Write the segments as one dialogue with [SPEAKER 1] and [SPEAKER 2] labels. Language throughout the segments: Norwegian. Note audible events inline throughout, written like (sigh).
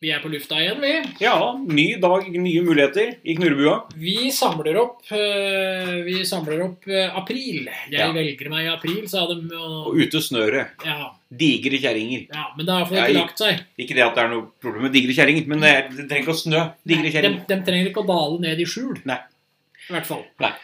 [SPEAKER 1] Vi er på lufta igjen, vi.
[SPEAKER 2] Ja, ny dag, nye muligheter i Knurrebua.
[SPEAKER 1] Vi samler opp, eh, vi samler opp eh, april. Jeg
[SPEAKER 2] Ja.
[SPEAKER 1] velger meg i april, sa de. Og,
[SPEAKER 2] Og ute snøret.
[SPEAKER 1] ja,
[SPEAKER 2] Digre kjerringer.
[SPEAKER 1] ja, men da får de
[SPEAKER 2] Jeg-
[SPEAKER 1] ikke lagt seg.
[SPEAKER 2] Ikke det at det er noe problem med digre kjerringer, men det, er, det trenger ikke å snø. Digre
[SPEAKER 1] de,
[SPEAKER 2] kjerringer.
[SPEAKER 1] de trenger ikke å dale ned i skjul.
[SPEAKER 2] Nei.
[SPEAKER 1] I hvert fall.
[SPEAKER 2] Nei.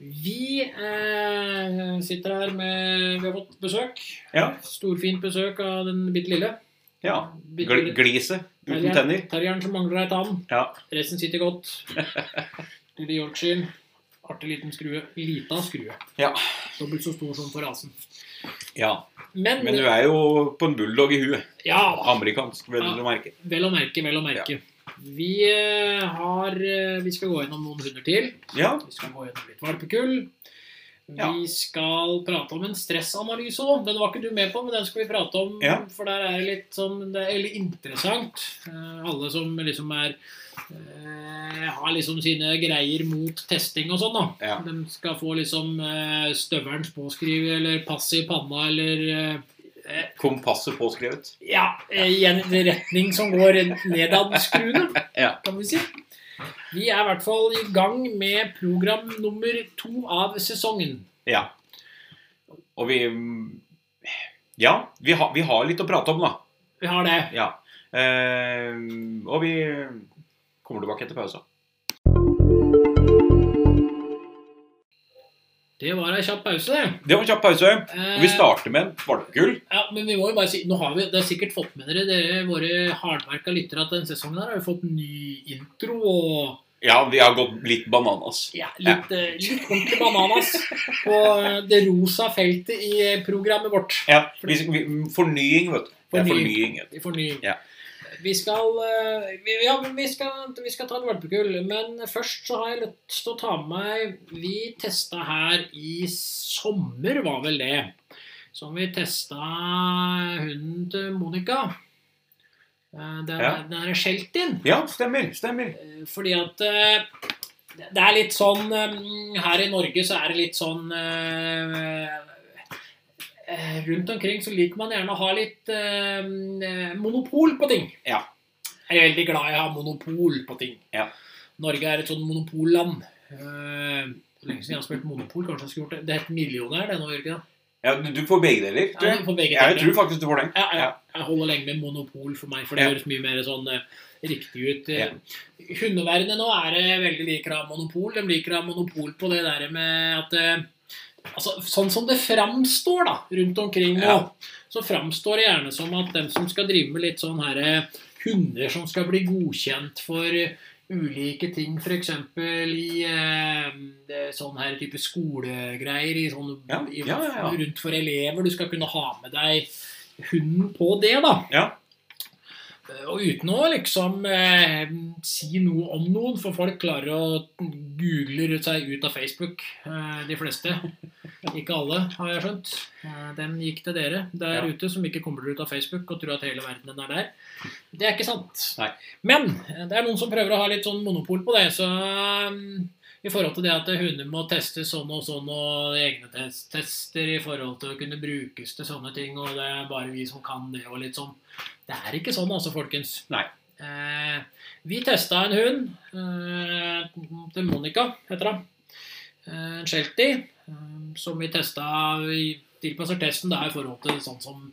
[SPEAKER 1] Vi eh, sitter her med Vi har fått besøk.
[SPEAKER 2] Ja.
[SPEAKER 1] Storfint besøk av den bitte lille.
[SPEAKER 2] ja.
[SPEAKER 1] Bitte
[SPEAKER 2] Gl
[SPEAKER 1] lille
[SPEAKER 2] glise uten
[SPEAKER 1] terrier-
[SPEAKER 2] tenner.
[SPEAKER 1] Terrieren som mangler ei tann.
[SPEAKER 2] Ja.
[SPEAKER 1] Resten sitter
[SPEAKER 2] (laughs)
[SPEAKER 1] godt. Lille Yorkshire. Artig liten skrue. Lita skrue.
[SPEAKER 2] Ja.
[SPEAKER 1] Dobbelt så stor som for rasen.
[SPEAKER 2] ja.
[SPEAKER 1] Men,
[SPEAKER 2] Men du er jo på en bulldog i huet.
[SPEAKER 1] ja,
[SPEAKER 2] Amerikansk, vel
[SPEAKER 1] Ja.
[SPEAKER 2] du merke.
[SPEAKER 1] vel å merke, vel å merke. Vi eh, har eh, Vi skal gå gjennom noen hunder til.
[SPEAKER 2] Ja.
[SPEAKER 1] Vi skal gå gjennom litt valpekull.
[SPEAKER 2] Ja.
[SPEAKER 1] Vi skal prate om en stressanalyse òg. Den var ikke du med på, men den skal vi prate om.
[SPEAKER 2] Ja.
[SPEAKER 1] For der er det litt sånn Det er veldig interessant. Eh, alle som liksom er eh, Har liksom sine greier mot testing og sånn, da.
[SPEAKER 2] Ja.
[SPEAKER 1] De skal få liksom eh, støvelen påskrevet eller passet i panna eller eh,
[SPEAKER 2] Kompasset påskrevet.
[SPEAKER 1] ja, eh, i en retning som går nedad skruene,
[SPEAKER 2] (laughs) Ja.
[SPEAKER 1] kan vi si. Vi er i hvert fall i gang med program nummer to av sesongen.
[SPEAKER 2] Ja. Og vi mm, Ja, vi, har- vi har litt å prate om, da.
[SPEAKER 1] Vi har det.
[SPEAKER 2] Ja. Eh, og vi kommer tilbake etter pausa.
[SPEAKER 1] Det var ei kjapp pause, det.
[SPEAKER 2] Det var en kjapp pause.
[SPEAKER 1] Eh,
[SPEAKER 2] Og vi starter med en valpekull.
[SPEAKER 1] Ja, men vi må jo bare si, nå har vi, Det har sikkert fått med dere, dere våre hardmerka lyttere, at denne sesongen her har vi fått ny intro og
[SPEAKER 2] Ja, vi har gått litt bananas.
[SPEAKER 1] ja, litt, eh, litt ordentlig bananas på eh, det rosa feltet i eh, programmet vårt.
[SPEAKER 2] Ja, vi, vi, fornying, vet du. Det er fornying. vet du.
[SPEAKER 1] I fornying.
[SPEAKER 2] Ja.
[SPEAKER 1] Vi skal, eh, vi, ja, men vi, skal, vi skal ta et valpekull, men først så har jeg lyst til å ta med meg Vi testa her i sommer, var vel det. Som vi testa hunden til Monica. Eh, Den,
[SPEAKER 2] Ja.
[SPEAKER 1] den er skjelt inn.
[SPEAKER 2] Ja, stemmer. stemmer.
[SPEAKER 1] Eh, Fordi at eh, det er litt sånn eh, Her i Norge så er det litt sånn eh, eh, Rundt omkring så liker man gjerne å ha litt eh, monopol på ting.
[SPEAKER 2] Ja.
[SPEAKER 1] Jeg er veldig glad i å ha monopol på ting.
[SPEAKER 2] Ja.
[SPEAKER 1] Norge er et sånn monopolland. Eh, det er lenge siden jeg har spilt monopol. Kanskje jeg skulle gjort det. Det heter millionær, det nå, gjør det ikke det?
[SPEAKER 2] Ja, du, du får begge deler.
[SPEAKER 1] Ja,
[SPEAKER 2] Du.
[SPEAKER 1] for begge
[SPEAKER 2] Ja, jeg
[SPEAKER 1] deler.
[SPEAKER 2] tror faktisk du får den.
[SPEAKER 1] Ja, ja.
[SPEAKER 2] Ja.
[SPEAKER 1] Jeg holder lenge med monopol for meg, for det
[SPEAKER 2] Ja.
[SPEAKER 1] høres mye mer sånn eh, riktig ut. Eh, Hundeverdenen nå er det veldig liker å ha monopol. De liker å ha monopol på det der med at eh, Altså, sånn som det framstår da, rundt omkring nå,
[SPEAKER 2] Ja.
[SPEAKER 1] så framstår det gjerne som at dem som skal drive med litt sånn her eh, hunder som skal bli godkjent for eh, ulike ting, f.eks. i eh, det- sånn her type skolegreier i sånn,
[SPEAKER 2] Ja,
[SPEAKER 1] i,
[SPEAKER 2] ja, ja, ja.
[SPEAKER 1] rundt for elever. Du skal kunne ha med deg hunden på det, da. Eh,
[SPEAKER 2] Ja.
[SPEAKER 1] Og uten å liksom eh, si noe om noen, for folk klarer å google seg ut av Facebook, eh, de fleste. Ikke alle, har jeg skjønt. Eh, den gikk til dere der
[SPEAKER 2] Ja.
[SPEAKER 1] ute som ikke kommer dere ut av Facebook og tror at hele verdenen er der. Det er ikke sant.
[SPEAKER 2] Nei.
[SPEAKER 1] Men eh, det er noen som prøver å ha litt sånn monopol på det, så eh, i forhold til det at hunder må testes sånn og sånn, og egne test tester i forhold til å kunne brukes til sånne ting, og det er bare vi som kan det, og litt sånn. Det er ikke sånn, altså, folkens.
[SPEAKER 2] Nei.
[SPEAKER 1] Eh, vi testa en hund eh, til Monica, heter hun. Eh, En Sheltie. Eh, som vi testa Vi tilpasser testen da i forhold til sånn som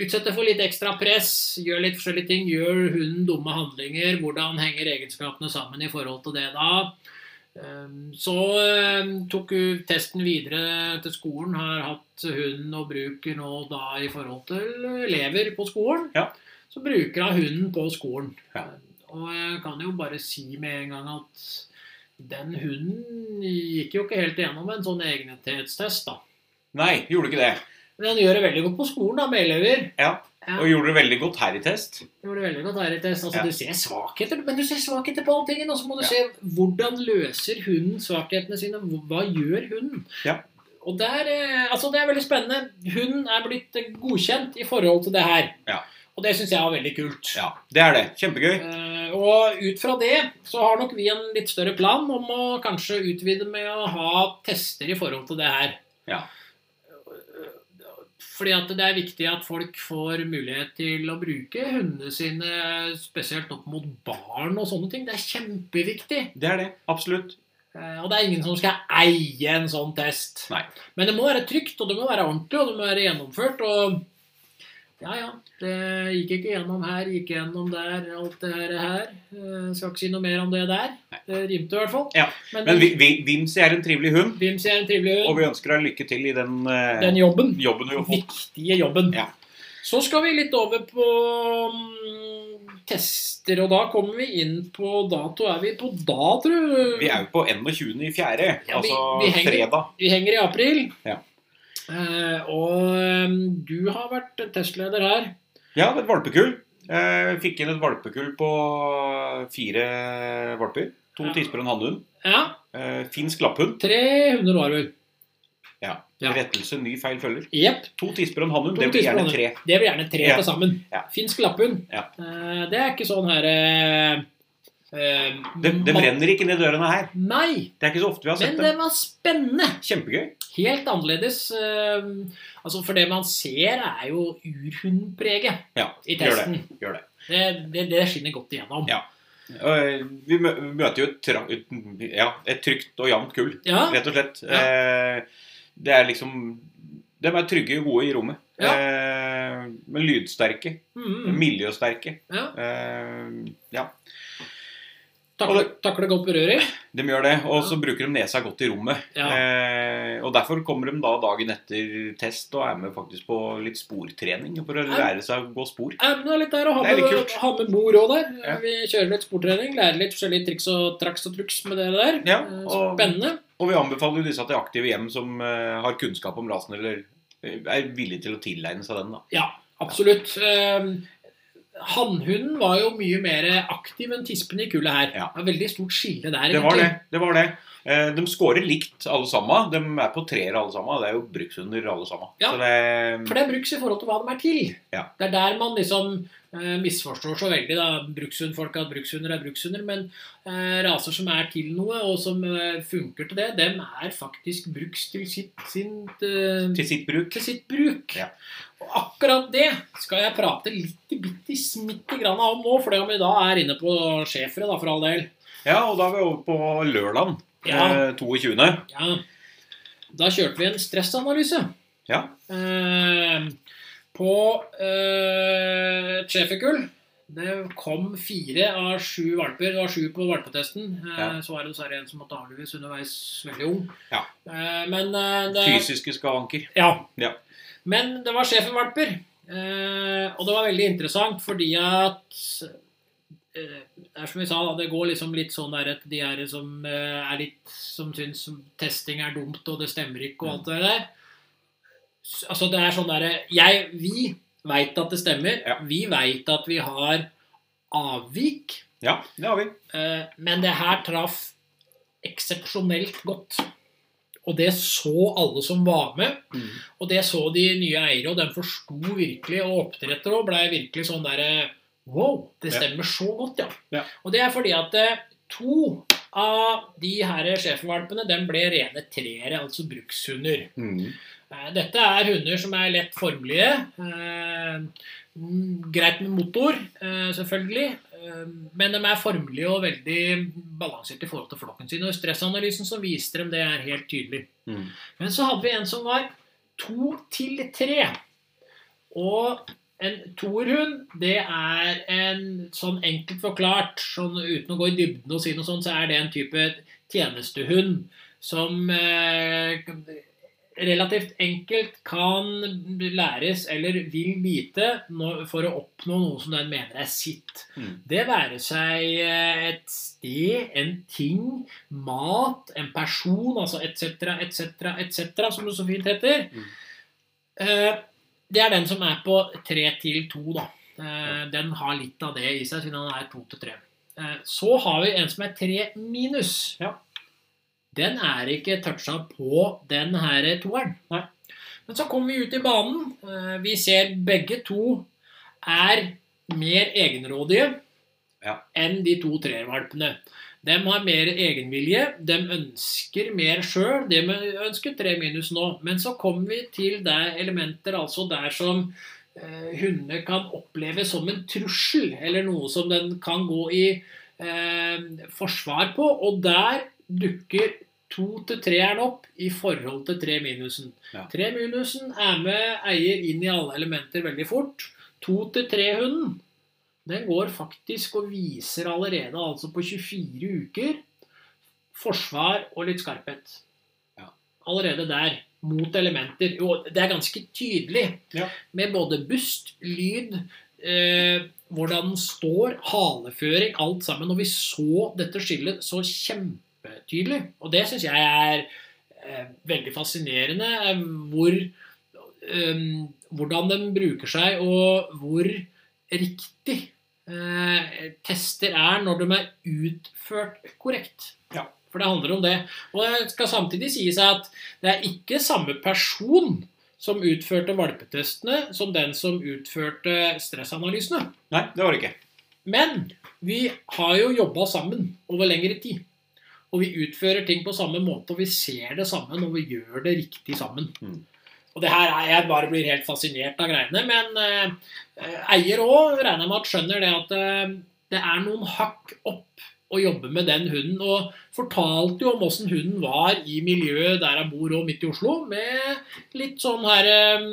[SPEAKER 1] Utsette for litt ekstra press, gjør litt forskjellige ting. Gjør hunden dumme handlinger? Hvordan henger egenskapene sammen i forhold til det da? Ehm, Så ehm, tok hun testen videre til skolen. Har hatt hunden og bruker nå da i forhold til elever på skolen.
[SPEAKER 2] Ja.
[SPEAKER 1] Så bruker hun hunden på skolen.
[SPEAKER 2] Ja.
[SPEAKER 1] Og jeg kan jo bare si med en gang at den hunden gikk jo ikke helt igjennom en sånn egnethetstest, da.
[SPEAKER 2] Nei, gjorde ikke det.
[SPEAKER 1] Men den gjør det veldig godt på skolen, da, med elever.
[SPEAKER 2] Ja.
[SPEAKER 1] Ja.
[SPEAKER 2] Og gjorde det veldig godt her i test.
[SPEAKER 1] Det var det veldig godt her i test. Altså,
[SPEAKER 2] Ja.
[SPEAKER 1] Du ser svakheter, men du ser svakheter på alle tingene. Og så må du
[SPEAKER 2] Ja.
[SPEAKER 1] se hvordan løser hunden svakhetene sine. Hva- Hva gjør hunden?
[SPEAKER 2] Ja.
[SPEAKER 1] Og der, eh, altså Det er veldig spennende. Hunden er blitt eh, godkjent i forhold til det her.
[SPEAKER 2] Ja.
[SPEAKER 1] Og det syns jeg var veldig kult.
[SPEAKER 2] Ja, Det er det. Kjempegøy.
[SPEAKER 1] Eh, og ut fra det så har nok vi en litt større plan om å kanskje utvide med å ha tester i forhold til det her.
[SPEAKER 2] Ja.
[SPEAKER 1] Fordi at det er viktig at folk får mulighet til å bruke hundene sine spesielt opp mot barn og sånne ting. Det er kjempeviktig.
[SPEAKER 2] Det er det. Absolutt.
[SPEAKER 1] Eh, Og det er ingen som skal eie en sånn test.
[SPEAKER 2] Nei.
[SPEAKER 1] Men det må være trygt, og det må være ordentlig, og det må være gjennomført. og... Ja, ja. Det gikk ikke gjennom her, gikk gjennom der, alt det her. her. Eh, Skal ikke si noe mer om det der. Det rimte i hvert fall.
[SPEAKER 2] Ja,
[SPEAKER 1] Men,
[SPEAKER 2] Men vi, vi, Vimsi er en trivelig hund,
[SPEAKER 1] Vimsi er en trivelig
[SPEAKER 2] og
[SPEAKER 1] hund.
[SPEAKER 2] vi ønsker deg lykke til i den, eh,
[SPEAKER 1] Den jobben.
[SPEAKER 2] jobben du har fått.
[SPEAKER 1] Viktige jobben.
[SPEAKER 2] Ja.
[SPEAKER 1] Så skal vi litt over på mm, tester, og da kommer vi inn på dato. Er vi på da, tror du?
[SPEAKER 2] Vi er jo på 21. i fjerde,
[SPEAKER 1] Ja, vi-
[SPEAKER 2] altså
[SPEAKER 1] vi henger.
[SPEAKER 2] fredag.
[SPEAKER 1] Vi henger i april.
[SPEAKER 2] Ja.
[SPEAKER 1] Eh, og mm, du har vært testleder her.
[SPEAKER 2] Ja, det er et valpekull. Eh, fikk inn et valpekull på fire valper. To
[SPEAKER 1] Ja.
[SPEAKER 2] tisper og en hannhund.
[SPEAKER 1] Ja,
[SPEAKER 2] Eh, finsk lapphund.
[SPEAKER 1] 300 var det vel. Ja.
[SPEAKER 2] Rettelse, ny, feil følger.
[SPEAKER 1] Jepp.
[SPEAKER 2] To tisper og en hannhund,
[SPEAKER 1] To
[SPEAKER 2] det blir
[SPEAKER 1] tisper og en
[SPEAKER 2] gjerne tre.
[SPEAKER 1] Det blir gjerne tre
[SPEAKER 2] Ja.
[SPEAKER 1] til sammen.
[SPEAKER 2] Ja.
[SPEAKER 1] Finsk lapphund.
[SPEAKER 2] Ja.
[SPEAKER 1] Eh, det er ikke sånn her eh, eh,
[SPEAKER 2] Det, det
[SPEAKER 1] ma-
[SPEAKER 2] brenner ikke ned dørene her.
[SPEAKER 1] Nei,
[SPEAKER 2] Det er ikke så ofte vi har
[SPEAKER 1] men eh,
[SPEAKER 2] sett
[SPEAKER 1] det
[SPEAKER 2] dem.
[SPEAKER 1] var spennende.
[SPEAKER 2] Kjempegøy.
[SPEAKER 1] Helt annerledes. eh, altså For det man ser, er jo urhundpreget
[SPEAKER 2] Ja,
[SPEAKER 1] i
[SPEAKER 2] gjør det.
[SPEAKER 1] testen.
[SPEAKER 2] Gjør det.
[SPEAKER 1] Det, det, det skinner godt igjennom.
[SPEAKER 2] Ja. Eh, Vi mø- vi møter jo et, tra et- ja, et trygt og jevnt kull,
[SPEAKER 1] Ja,
[SPEAKER 2] rett og slett.
[SPEAKER 1] Ja.
[SPEAKER 2] Eh, Det er liksom De er trygge og gode i rommet.
[SPEAKER 1] Ja.
[SPEAKER 2] Eh, Men lydsterke.
[SPEAKER 1] mm,
[SPEAKER 2] Miljøsterke.
[SPEAKER 1] ja.
[SPEAKER 2] Eh, ja,
[SPEAKER 1] Takle, takle godt berøring.
[SPEAKER 2] de gjør det. Og så bruker de nesa godt i rommet.
[SPEAKER 1] Ja.
[SPEAKER 2] Eh, og derfor kommer de da dagen etter test og er med faktisk på litt sportrening for å lære seg å gå spor.
[SPEAKER 1] Ja, Eh, men det er litt der å ha
[SPEAKER 2] Det er
[SPEAKER 1] med,
[SPEAKER 2] litt kult.
[SPEAKER 1] ha med mor òg der.
[SPEAKER 2] Ja.
[SPEAKER 1] Vi kjører litt sportrening. Lærer litt forskjellige triks og traks og truks med det der.
[SPEAKER 2] Ja,
[SPEAKER 1] Eh,
[SPEAKER 2] og-
[SPEAKER 1] Spennende.
[SPEAKER 2] Og vi anbefaler jo disse til aktive hjem som eh, har kunnskap om rasen eller eh, er villige til å tilegne seg den. da.
[SPEAKER 1] Ja, absolutt. Um, Hannhunden var jo mye mer aktiv enn tispen i kullet her.
[SPEAKER 2] Ja.
[SPEAKER 1] Det er veldig stort skille der.
[SPEAKER 2] Det var
[SPEAKER 1] egentlig.
[SPEAKER 2] det. det, var det. Eh, De scorer likt alle sammen. De er på treer alle sammen. Det er jo brukshunder alle sammen.
[SPEAKER 1] Ja.
[SPEAKER 2] Så det,
[SPEAKER 1] For det er bruks i forhold til hva de er til.
[SPEAKER 2] Ja.
[SPEAKER 1] Det er der man liksom eh, misforstår så veldig. da, Brukshundfolk at brukshunder er brukshunder. Men eh, raser som er til noe, og som eh, funker til det, dem er faktisk bruks til sitt, sin, eh,
[SPEAKER 2] til sitt bruk.
[SPEAKER 1] til sitt bruk.
[SPEAKER 2] Ja.
[SPEAKER 1] Og akkurat det skal jeg prate litt bitte smitte grann om nå, for det om vi da er inne på schæfere, da, for all del.
[SPEAKER 2] Ja, og da er vi over på lørdagen.
[SPEAKER 1] Ja.
[SPEAKER 2] eh, 22.
[SPEAKER 1] Ja. Da kjørte vi en stressanalyse.
[SPEAKER 2] Ja.
[SPEAKER 1] Eh, på eh, et schæferkull. Det kom fire av sju valper. Det var sju på valpetesten. Eh,
[SPEAKER 2] Ja.
[SPEAKER 1] Så var det dessverre en som måtte avlives underveis, veldig ung.
[SPEAKER 2] Ja.
[SPEAKER 1] Eh, men eh, det,
[SPEAKER 2] Fysiske skavanker.
[SPEAKER 1] Ja.
[SPEAKER 2] Ja.
[SPEAKER 1] Men det var schæfervalper. Eh, og det var veldig interessant fordi at eh, det er som vi sa, da, det går liksom litt sånn der at de her som eh, er litt som syns testing er dumt, og det stemmer ikke, og
[SPEAKER 2] Mm.
[SPEAKER 1] alt det der. S- Altså, det er sånn derre Jeg Vi veit at det stemmer.
[SPEAKER 2] Ja.
[SPEAKER 1] Vi veit at vi har avvik.
[SPEAKER 2] Ja, det har vi.
[SPEAKER 1] Eh, men det her traff eksepsjonelt godt. Og det så alle som var med.
[SPEAKER 2] Mm.
[SPEAKER 1] Og det så de nye eiere, og de forsto virkelig, og oppdrettere òg blei virkelig sånn derre Wow, det
[SPEAKER 2] Ja.
[SPEAKER 1] stemmer så godt, ja.
[SPEAKER 2] Ja.
[SPEAKER 1] Og det er fordi at eh, to av de her schæfervalpene de ble rene treere, altså brukshunder.
[SPEAKER 2] Mm.
[SPEAKER 1] Eh, Dette er hunder som er lett formelige. eh, mm, Greit med motor, eh, selvfølgelig. eh, Men de er formelige og veldig balansert i forhold til flokken sin. Og i stressanalysen så viste dem det er helt tydelig.
[SPEAKER 2] Mm.
[SPEAKER 1] Men så hadde vi en som var to til tre. Og en toerhund, det er en sånn enkelt forklart, sånn uten å gå i dybden og si noe sånt, så er det en type tjenestehund som eh, relativt enkelt kan læres eller vil bite nå- for å oppnå noe som den mener er sitt.
[SPEAKER 2] Mm.
[SPEAKER 1] Det være seg eh, et sted, en ting, mat, en person, altså etc., etc., etc., som det så fint heter.
[SPEAKER 2] Mm.
[SPEAKER 1] Eh, Det er den som er på 3 til 2, da. Eh, Den har litt av det i seg, siden den er 2 til 3. Så har vi en som er 3 minus.
[SPEAKER 2] Ja.
[SPEAKER 1] Den er ikke toucha på den her toeren.
[SPEAKER 2] Nei.
[SPEAKER 1] Men så kommer vi ut i banen. Eh, Vi ser begge to er mer egenrådige
[SPEAKER 2] Ja.
[SPEAKER 1] enn de to treervalpene. De har mer egenvilje. De ønsker mer sjøl. De ønsker tre minus nå. Men så kommer vi til det elementer altså der som eh, hundene kan oppleve som en trussel, eller noe som den kan gå i eh, forsvar på. Og der dukker to til treeren opp i forhold til tre minusen.
[SPEAKER 2] Ja.
[SPEAKER 1] Tre minusen er med eier inn i alle elementer veldig fort. To til tre-hunden den går faktisk og viser allerede altså på 24 uker forsvar og litt skarphet.
[SPEAKER 2] Ja.
[SPEAKER 1] Allerede der. Mot elementer. Jo, det er ganske tydelig.
[SPEAKER 2] Ja.
[SPEAKER 1] Med både bust, lyd, eh, hvordan den står, haleføring, alt sammen. Og vi så dette skillet så kjempetydelig. Og det syns jeg er eh, veldig fascinerende. eh, Hvor, eh, hvordan den bruker seg, og hvor riktig eh, tester er når de er utført korrekt.
[SPEAKER 2] Ja.
[SPEAKER 1] For det handler om det. Og det skal samtidig sies at det er ikke samme person som utførte valpetestene, som den som utførte stressanalysene.
[SPEAKER 2] Nei, det var det ikke.
[SPEAKER 1] Men vi har jo jobba sammen over lengre tid. Og vi utfører ting på samme måte, og vi ser det sammen, og vi gjør det riktig sammen.
[SPEAKER 2] Mm.
[SPEAKER 1] Og det her er Jeg bare blir helt fascinert av greiene. Men eh, eh, eier òg regner jeg med at skjønner det at eh, det er noen hakk opp å jobbe med den hunden. Og fortalte jo om åssen hunden var i miljøet der jeg bor, og midt i Oslo. Med litt sånn her eh,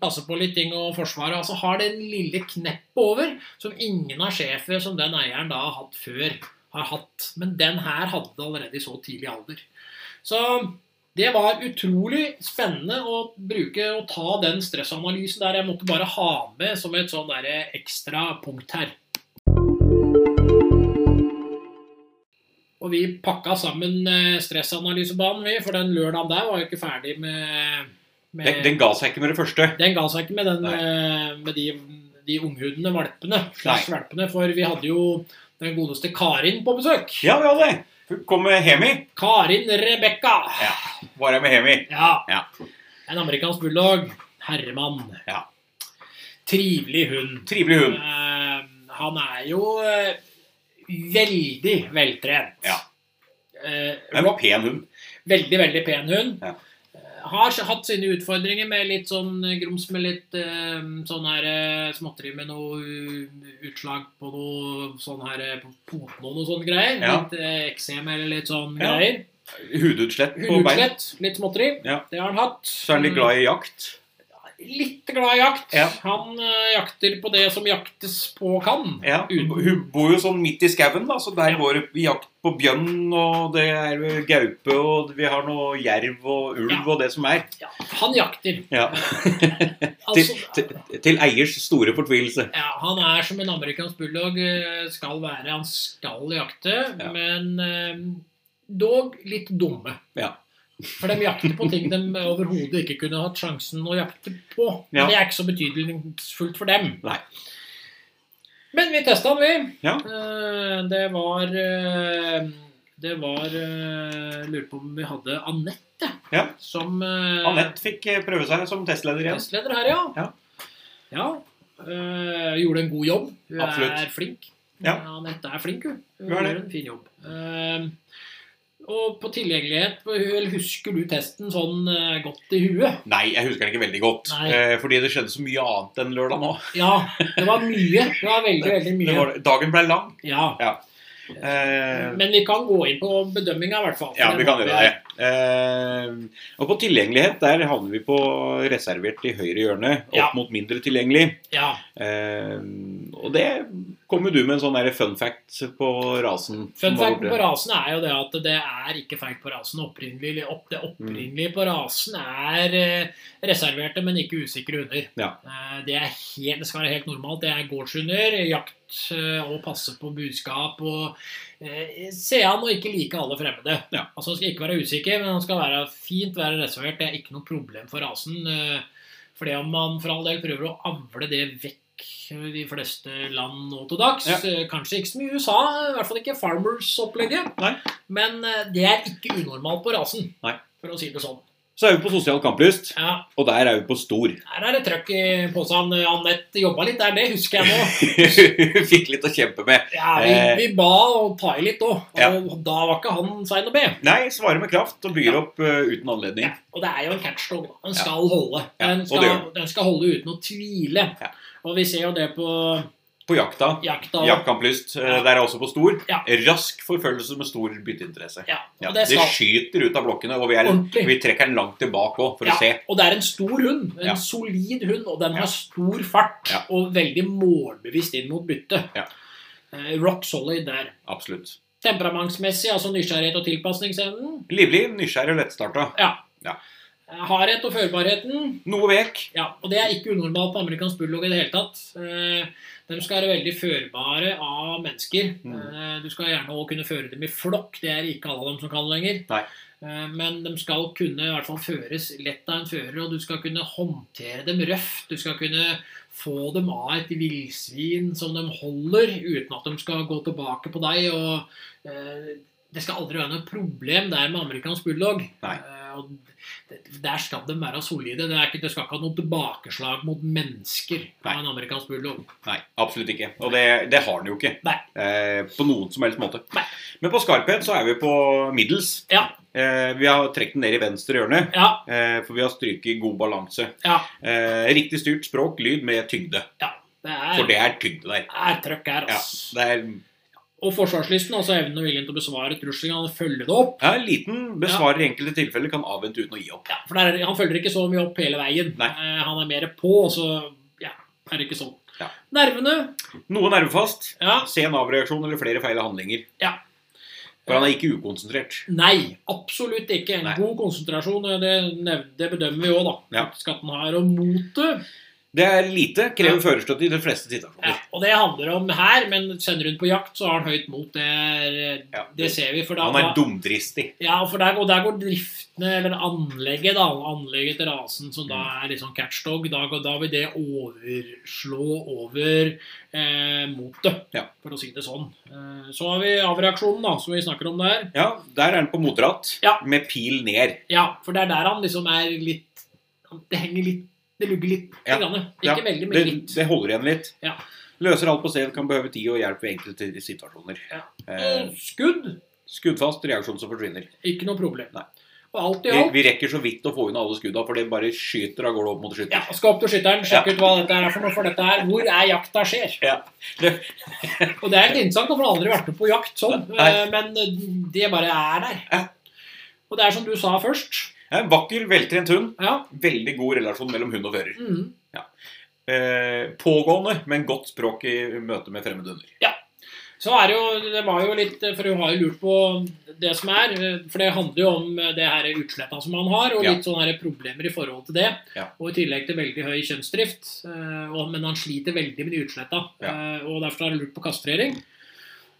[SPEAKER 1] Passe på litt ting og forsvaret. Altså har den lille kneppet over som ingen av sjefer som den eieren da har hatt før, har hatt. Men den her hadde det allerede i så tidlig alder. Så det var utrolig spennende å bruke og ta den stressanalysen der. Jeg måtte bare ha med som et sånn derre ekstra punkt her. Og vi pakka sammen eh, stressanalysebanen, vi, for den lørdagen der var jo ikke ferdig med, med
[SPEAKER 2] Den, den ga seg ikke med det første.
[SPEAKER 1] den ga seg ikke med, den,
[SPEAKER 2] Nei.
[SPEAKER 1] eh, med de, de unghudene valpene. Slash valpene, for vi hadde jo den godeste Karin på besøk.
[SPEAKER 2] Ja, vi hadde det. Kom med Hemi.
[SPEAKER 1] Karin Rebekka.
[SPEAKER 2] Ja. Var jeg med Hemi?
[SPEAKER 1] Ja.
[SPEAKER 2] Ja.
[SPEAKER 1] En amerikansk bulldog. Herremann.
[SPEAKER 2] Ja.
[SPEAKER 1] Trivelig hund.
[SPEAKER 2] Trivelig hund.
[SPEAKER 1] Eh, han er jo eh, veldig veltrent.
[SPEAKER 2] Ja.
[SPEAKER 1] Eh,
[SPEAKER 2] En pen hund.
[SPEAKER 1] Veldig, veldig pen hund.
[SPEAKER 2] Ja.
[SPEAKER 1] Eh, Har s- hatt sine utfordringer med litt sånn eh, grums med litt eh, sånn her eh, småtteri med noe eh, utslag på noe sånn her eh, på poten og noe sånne greier.
[SPEAKER 2] Ja.
[SPEAKER 1] Litt eh, eksem eller litt sånn
[SPEAKER 2] Ja.
[SPEAKER 1] greier.
[SPEAKER 2] Hudutslett på bein.
[SPEAKER 1] Hudutslett, litt småtteri.
[SPEAKER 2] Ja.
[SPEAKER 1] Det har han hatt.
[SPEAKER 2] Så er han litt glad i jakt.
[SPEAKER 1] Litt glad i jakt.
[SPEAKER 2] Ja.
[SPEAKER 1] Han eh, jakter på det som jaktes på kan.
[SPEAKER 2] Ja.
[SPEAKER 1] Uten-
[SPEAKER 2] Hun bor jo sånn midt i skauen, da, så der
[SPEAKER 1] Ja.
[SPEAKER 2] går det jakt på bjørn, og det er gaupe, og vi har noe jerv og ulv
[SPEAKER 1] Ja.
[SPEAKER 2] og det som er.
[SPEAKER 1] Ja, han jakter.
[SPEAKER 2] Ja. til,
[SPEAKER 1] Altså,
[SPEAKER 2] til, til eiers store fortvilelse.
[SPEAKER 1] Ja, han er som en amerikansk bulldog eh, skal være. Han skal jakte,
[SPEAKER 2] Ja.
[SPEAKER 1] men eh, dog litt dumme.
[SPEAKER 2] Ja.
[SPEAKER 1] For de jakter på ting de overhodet ikke kunne hatt sjansen å jakte på.
[SPEAKER 2] Ja.
[SPEAKER 1] Det er ikke så betydningsfullt for dem.
[SPEAKER 2] Nei.
[SPEAKER 1] Men vi testa den, vi.
[SPEAKER 2] Ja.
[SPEAKER 1] Eh, Det var eh, Det var eh, Lurer på om vi hadde Anette
[SPEAKER 2] Ja.
[SPEAKER 1] som eh,
[SPEAKER 2] Anette fikk eh, prøve seg som testleder igjen.
[SPEAKER 1] Nestleder her, ja.
[SPEAKER 2] Ja.
[SPEAKER 1] Ja, øh, gjorde en god jobb. Hun
[SPEAKER 2] Absolutt.
[SPEAKER 1] er flink.
[SPEAKER 2] Ja.
[SPEAKER 1] Anette er flink, hun. Hun
[SPEAKER 2] Hun er det.
[SPEAKER 1] gjør en fin jobb. Ehm, og på tilgjengelighet eller Husker du testen sånn øh, godt i huet?
[SPEAKER 2] Nei, jeg husker den ikke veldig godt.
[SPEAKER 1] Nei.
[SPEAKER 2] eh, Fordi det skjedde så mye annet enn lørdag nå.
[SPEAKER 1] Ja, det var mye. Det var veldig, veldig
[SPEAKER 2] Det
[SPEAKER 1] mye.
[SPEAKER 2] var, dagen ble lang.
[SPEAKER 1] Ja.
[SPEAKER 2] Eh,
[SPEAKER 1] Men vi kan gå inn på bedømminga, i hvert fall.
[SPEAKER 2] Ja,
[SPEAKER 1] Den
[SPEAKER 2] vi kan
[SPEAKER 1] håper
[SPEAKER 2] gjøre det.
[SPEAKER 1] jeg.
[SPEAKER 2] Eh, og på tilgjengelighet, der havner vi på reservert i høyre hjørne, opp
[SPEAKER 1] Ja.
[SPEAKER 2] mot mindre tilgjengelig.
[SPEAKER 1] Ja.
[SPEAKER 2] Eh, og det kom jo du med en sånn der fun fact på rasen. som
[SPEAKER 1] Fun
[SPEAKER 2] var
[SPEAKER 1] fact
[SPEAKER 2] borte.
[SPEAKER 1] på rasen er jo det at det er ikke feil på rasen. Opprinnelig, opp, det
[SPEAKER 2] Mm.
[SPEAKER 1] opprinnelige på rasen er eh, reserverte, men ikke usikre hunder.
[SPEAKER 2] Ja.
[SPEAKER 1] Eh, det, er helt, det skal være helt normalt. Det er gårdshunder, jakt eh, og passe på budskap og eh, se an og ikke like alle fremmede.
[SPEAKER 2] Ja.
[SPEAKER 1] Altså Han skal ikke være usikker, men han skal være fint være reservert. Det er ikke noe problem for rasen. Eh, for det om man for all del prøver å avle det vekk eh, de fleste land nå til dags
[SPEAKER 2] Ja.
[SPEAKER 1] eh, Kanskje ikke så mye i USA, i hvert fall ikke Farmers-opplegget.
[SPEAKER 2] Nei.
[SPEAKER 1] Men eh, det er ikke unormalt på rasen,
[SPEAKER 2] Nei.
[SPEAKER 1] for å si det sånn.
[SPEAKER 2] Så er vi på sosial kamplyst,
[SPEAKER 1] Ja,
[SPEAKER 2] og der er vi på stor. (laughs)
[SPEAKER 1] Her er det trøkk i posen. Anette jobba litt der, det husker jeg
[SPEAKER 2] (laughs)
[SPEAKER 1] nå.
[SPEAKER 2] Fikk litt å kjempe med.
[SPEAKER 1] Ja, Vi, vi ba og ta i litt òg, og
[SPEAKER 2] Eh. Ja.
[SPEAKER 1] da var ikke han sein å be.
[SPEAKER 2] Nei, svarer med kraft og byr
[SPEAKER 1] Ja.
[SPEAKER 2] opp eh, uten anledning.
[SPEAKER 1] Ja, og det er jo en catchdog. da. Den skal holde.
[SPEAKER 2] Ja,
[SPEAKER 1] Den
[SPEAKER 2] og
[SPEAKER 1] skal,
[SPEAKER 2] det gjør den.
[SPEAKER 1] den skal holde uten å tvile.
[SPEAKER 2] Ja.
[SPEAKER 1] Og vi ser jo det på
[SPEAKER 2] På jakta.
[SPEAKER 1] jakta. og-
[SPEAKER 2] Jaktkamplyst. eh, Der er også på stor.
[SPEAKER 1] Ja.
[SPEAKER 2] Rask forfølgelse med stor bytteinteresse.
[SPEAKER 1] Ja,
[SPEAKER 2] Ja,
[SPEAKER 1] og
[SPEAKER 2] det,
[SPEAKER 1] det skal
[SPEAKER 2] skyter ut av blokkene, og vi, er,
[SPEAKER 1] Ordentlig.
[SPEAKER 2] vi trekker den langt tilbake òg, for
[SPEAKER 1] ja,
[SPEAKER 2] å se.
[SPEAKER 1] Og det er en stor hund. En
[SPEAKER 2] Ja.
[SPEAKER 1] solid hund, og den
[SPEAKER 2] Ja.
[SPEAKER 1] har stor fart
[SPEAKER 2] Ja.
[SPEAKER 1] og veldig målbevisst inn mot byttet.
[SPEAKER 2] Ja.
[SPEAKER 1] Eh, Rock solid der.
[SPEAKER 2] Absolutt.
[SPEAKER 1] Temperamentsmessig, altså nysgjerrighet og tilpasningsevnen.
[SPEAKER 2] Livlig, nysgjerrig og lettstarta.
[SPEAKER 1] Eh, Hardhet og førbarheten.
[SPEAKER 2] Noe vek.
[SPEAKER 1] Ja, og det er ikke unormalt på amerikansk bulldog i det hele tatt. Eh, De skal være veldig førbare av mennesker.
[SPEAKER 2] Mm.
[SPEAKER 1] Eh, Du skal gjerne også kunne føre dem i flokk. Det er ikke alle av dem som kan lenger.
[SPEAKER 2] Nei.
[SPEAKER 1] Eh, Men de skal kunne i hvert fall føres lett av en fører, og du skal kunne håndtere dem røft. Du skal kunne få dem av et villsvin som de holder, uten at de skal gå tilbake på deg. og eh, Det skal aldri være noe problem der med amerikansk bulldog.
[SPEAKER 2] Nei.
[SPEAKER 1] Eh, og det- Der skal de være solide. Det, er ikke, det skal ikke ha noe tilbakeslag mot mennesker
[SPEAKER 2] Nei.
[SPEAKER 1] av en amerikansk bulldog.
[SPEAKER 2] Nei, absolutt ikke. Og det, det har den jo ikke.
[SPEAKER 1] Nei.
[SPEAKER 2] Eh, på noen som helst måte.
[SPEAKER 1] Nei.
[SPEAKER 2] Men på skarphet så er vi på middels.
[SPEAKER 1] Ja.
[SPEAKER 2] Eh, vi har trukket den ned i venstre hjørne,
[SPEAKER 1] Ja,
[SPEAKER 2] eh, for vi har stryket god balanse.
[SPEAKER 1] ja,
[SPEAKER 2] Eh, riktig styrt språk, lyd med tyngde.
[SPEAKER 1] ja. Det
[SPEAKER 2] For
[SPEAKER 1] er,
[SPEAKER 2] det er tyngde der.
[SPEAKER 1] er trøkk her,
[SPEAKER 2] Ja,
[SPEAKER 1] altså.
[SPEAKER 2] det er
[SPEAKER 1] Og forsvarslysten, altså evnen og viljen til å besvare truslene og følge det opp.
[SPEAKER 2] ja, liten besvarer i enkelte tilfeller, kan avvente uten å gi opp.
[SPEAKER 1] Ja, for der, er- Han følger ikke så mye opp hele veien.
[SPEAKER 2] Nei.
[SPEAKER 1] Eh, han er mer på, så ja, er det ikke sånn.
[SPEAKER 2] Ja.
[SPEAKER 1] Nervene
[SPEAKER 2] Noe nervefast.
[SPEAKER 1] ja.
[SPEAKER 2] Sen avreaksjon eller flere feil handlinger.
[SPEAKER 1] Ja.
[SPEAKER 2] For han er ikke ukonsentrert.
[SPEAKER 1] Nei, absolutt ikke. En
[SPEAKER 2] Nei.
[SPEAKER 1] god konsentrasjon, og det, nev- det bedømmer vi òg, da.
[SPEAKER 2] Ja.
[SPEAKER 1] Skatten har og motet.
[SPEAKER 2] Det er lite, krever
[SPEAKER 1] Ja.
[SPEAKER 2] førerstøtte i de fleste
[SPEAKER 1] Ja,
[SPEAKER 2] situasjoner.
[SPEAKER 1] og det handler om her, men sender hun på jakt, så har han høyt mot. Det, er-
[SPEAKER 2] Ja.
[SPEAKER 1] det ser vi. For da,
[SPEAKER 2] Han er dumdristig.
[SPEAKER 1] Ja, for der, og der går driftene, eller anlegget, da, anlegget til rasen, som da
[SPEAKER 2] Mm.
[SPEAKER 1] er litt sånn catchdog, da, går- da vil det overslå over eh, motet,
[SPEAKER 2] Ja.
[SPEAKER 1] for å si det sånn. Eh, så har vi avreaksjonen, da, som vi snakker om der.
[SPEAKER 2] Ja, der er han på motratt,
[SPEAKER 1] Ja.
[SPEAKER 2] med pil ned.
[SPEAKER 1] Ja, for det er der han liksom er litt Det henger litt Det lugger litt.
[SPEAKER 2] Ja.
[SPEAKER 1] lite Grann. Ikke
[SPEAKER 2] Ja,
[SPEAKER 1] veldig, men
[SPEAKER 2] Det,
[SPEAKER 1] litt.
[SPEAKER 2] det holder igjen litt.
[SPEAKER 1] Ja.
[SPEAKER 2] Løser alt på sted, kan behøve tid og hjelp ved enkelte situasjoner.
[SPEAKER 1] Ja.
[SPEAKER 2] Eh,
[SPEAKER 1] Og skudd,
[SPEAKER 2] skuddfast reaksjon som forsvinner.
[SPEAKER 1] ikke noe problem.
[SPEAKER 2] Nei.
[SPEAKER 1] Og alt i
[SPEAKER 2] Vi,
[SPEAKER 1] alt
[SPEAKER 2] vi rekker så vidt å få unna alle skudda, for det bare skyter av gårde opp mot
[SPEAKER 1] ja,
[SPEAKER 2] skytter.
[SPEAKER 1] Skal opp til skytteren, sjekk ut hva dette er for noe, for dette er hvor er jakta skjer.
[SPEAKER 2] Ja.
[SPEAKER 1] Og det er litt interessant, for jeg har aldri vært med på jakt sånn.
[SPEAKER 2] Nei.
[SPEAKER 1] eh, Men det bare er der.
[SPEAKER 2] Ja.
[SPEAKER 1] Og det er som du sa først.
[SPEAKER 2] En vakker, veltrent hund.
[SPEAKER 1] Ja.
[SPEAKER 2] Veldig god relasjon mellom hund og fører.
[SPEAKER 1] Mm.
[SPEAKER 2] Eh, pågående, men godt språk i møte med fremmede hunder.
[SPEAKER 1] Så er det jo Det var jo litt For hun har jo lurt på det som er. eh, For det handler jo om eh, det her utsletta som han har, og
[SPEAKER 2] Ja.
[SPEAKER 1] litt sånne her problemer i forhold til det.
[SPEAKER 2] Ja.
[SPEAKER 1] Og i tillegg til veldig høy kjønnsdrift. eh, og- Men han sliter veldig med de utsletta.
[SPEAKER 2] Ja.
[SPEAKER 1] eh, Og derfor har han lurt på kastrering.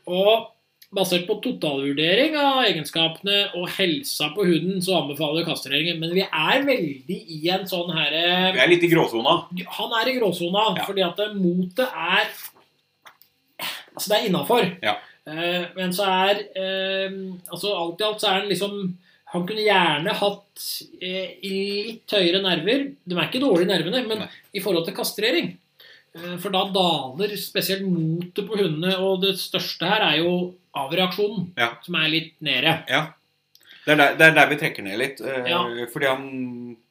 [SPEAKER 1] Og Basert på totalvurdering av egenskapene og helsa på hunden, så anbefaler vi kastreringen. Men vi er veldig i en sånn herre
[SPEAKER 2] Vi er litt i gråsona.
[SPEAKER 1] han er i gråsona,
[SPEAKER 2] Ja.
[SPEAKER 1] fordi at det- motet er Altså, det er innafor.
[SPEAKER 2] Ja.
[SPEAKER 1] Eh, men så er eh, Altså, alt i alt så er han liksom Han kunne gjerne hatt eh, litt høyere nerver. De er ikke dårlige nervene, men
[SPEAKER 2] Nei.
[SPEAKER 1] i forhold til kastrering. Eh, for da daler spesielt motet på hundene, og det største her er jo avreaksjonen,
[SPEAKER 2] Ja.
[SPEAKER 1] som er litt nede.
[SPEAKER 2] Det er der, det er der vi trekker ned litt. eh,
[SPEAKER 1] Ja.
[SPEAKER 2] Fordi han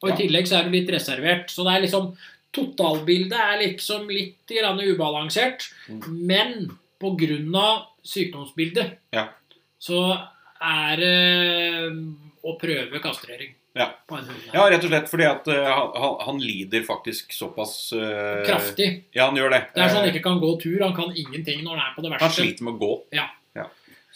[SPEAKER 1] Og i tillegg så er du litt reservert. Så det er liksom Totalbildet er liksom litt grann ubalansert.
[SPEAKER 2] Mm.
[SPEAKER 1] Men på grunn av sykdomsbildet
[SPEAKER 2] Ja.
[SPEAKER 1] så er det eh, å prøve kastrering.
[SPEAKER 2] Ja.
[SPEAKER 1] På en hund.
[SPEAKER 2] Ja, rett og slett fordi at eh, han, han lider faktisk såpass eh,
[SPEAKER 1] Kraftig.
[SPEAKER 2] Ja, han gjør det.
[SPEAKER 1] Det er sånn han
[SPEAKER 2] Eh,
[SPEAKER 1] ikke kan gå tur. Han kan ingenting når han er på det
[SPEAKER 2] han
[SPEAKER 1] verste.
[SPEAKER 2] sliter med å gå.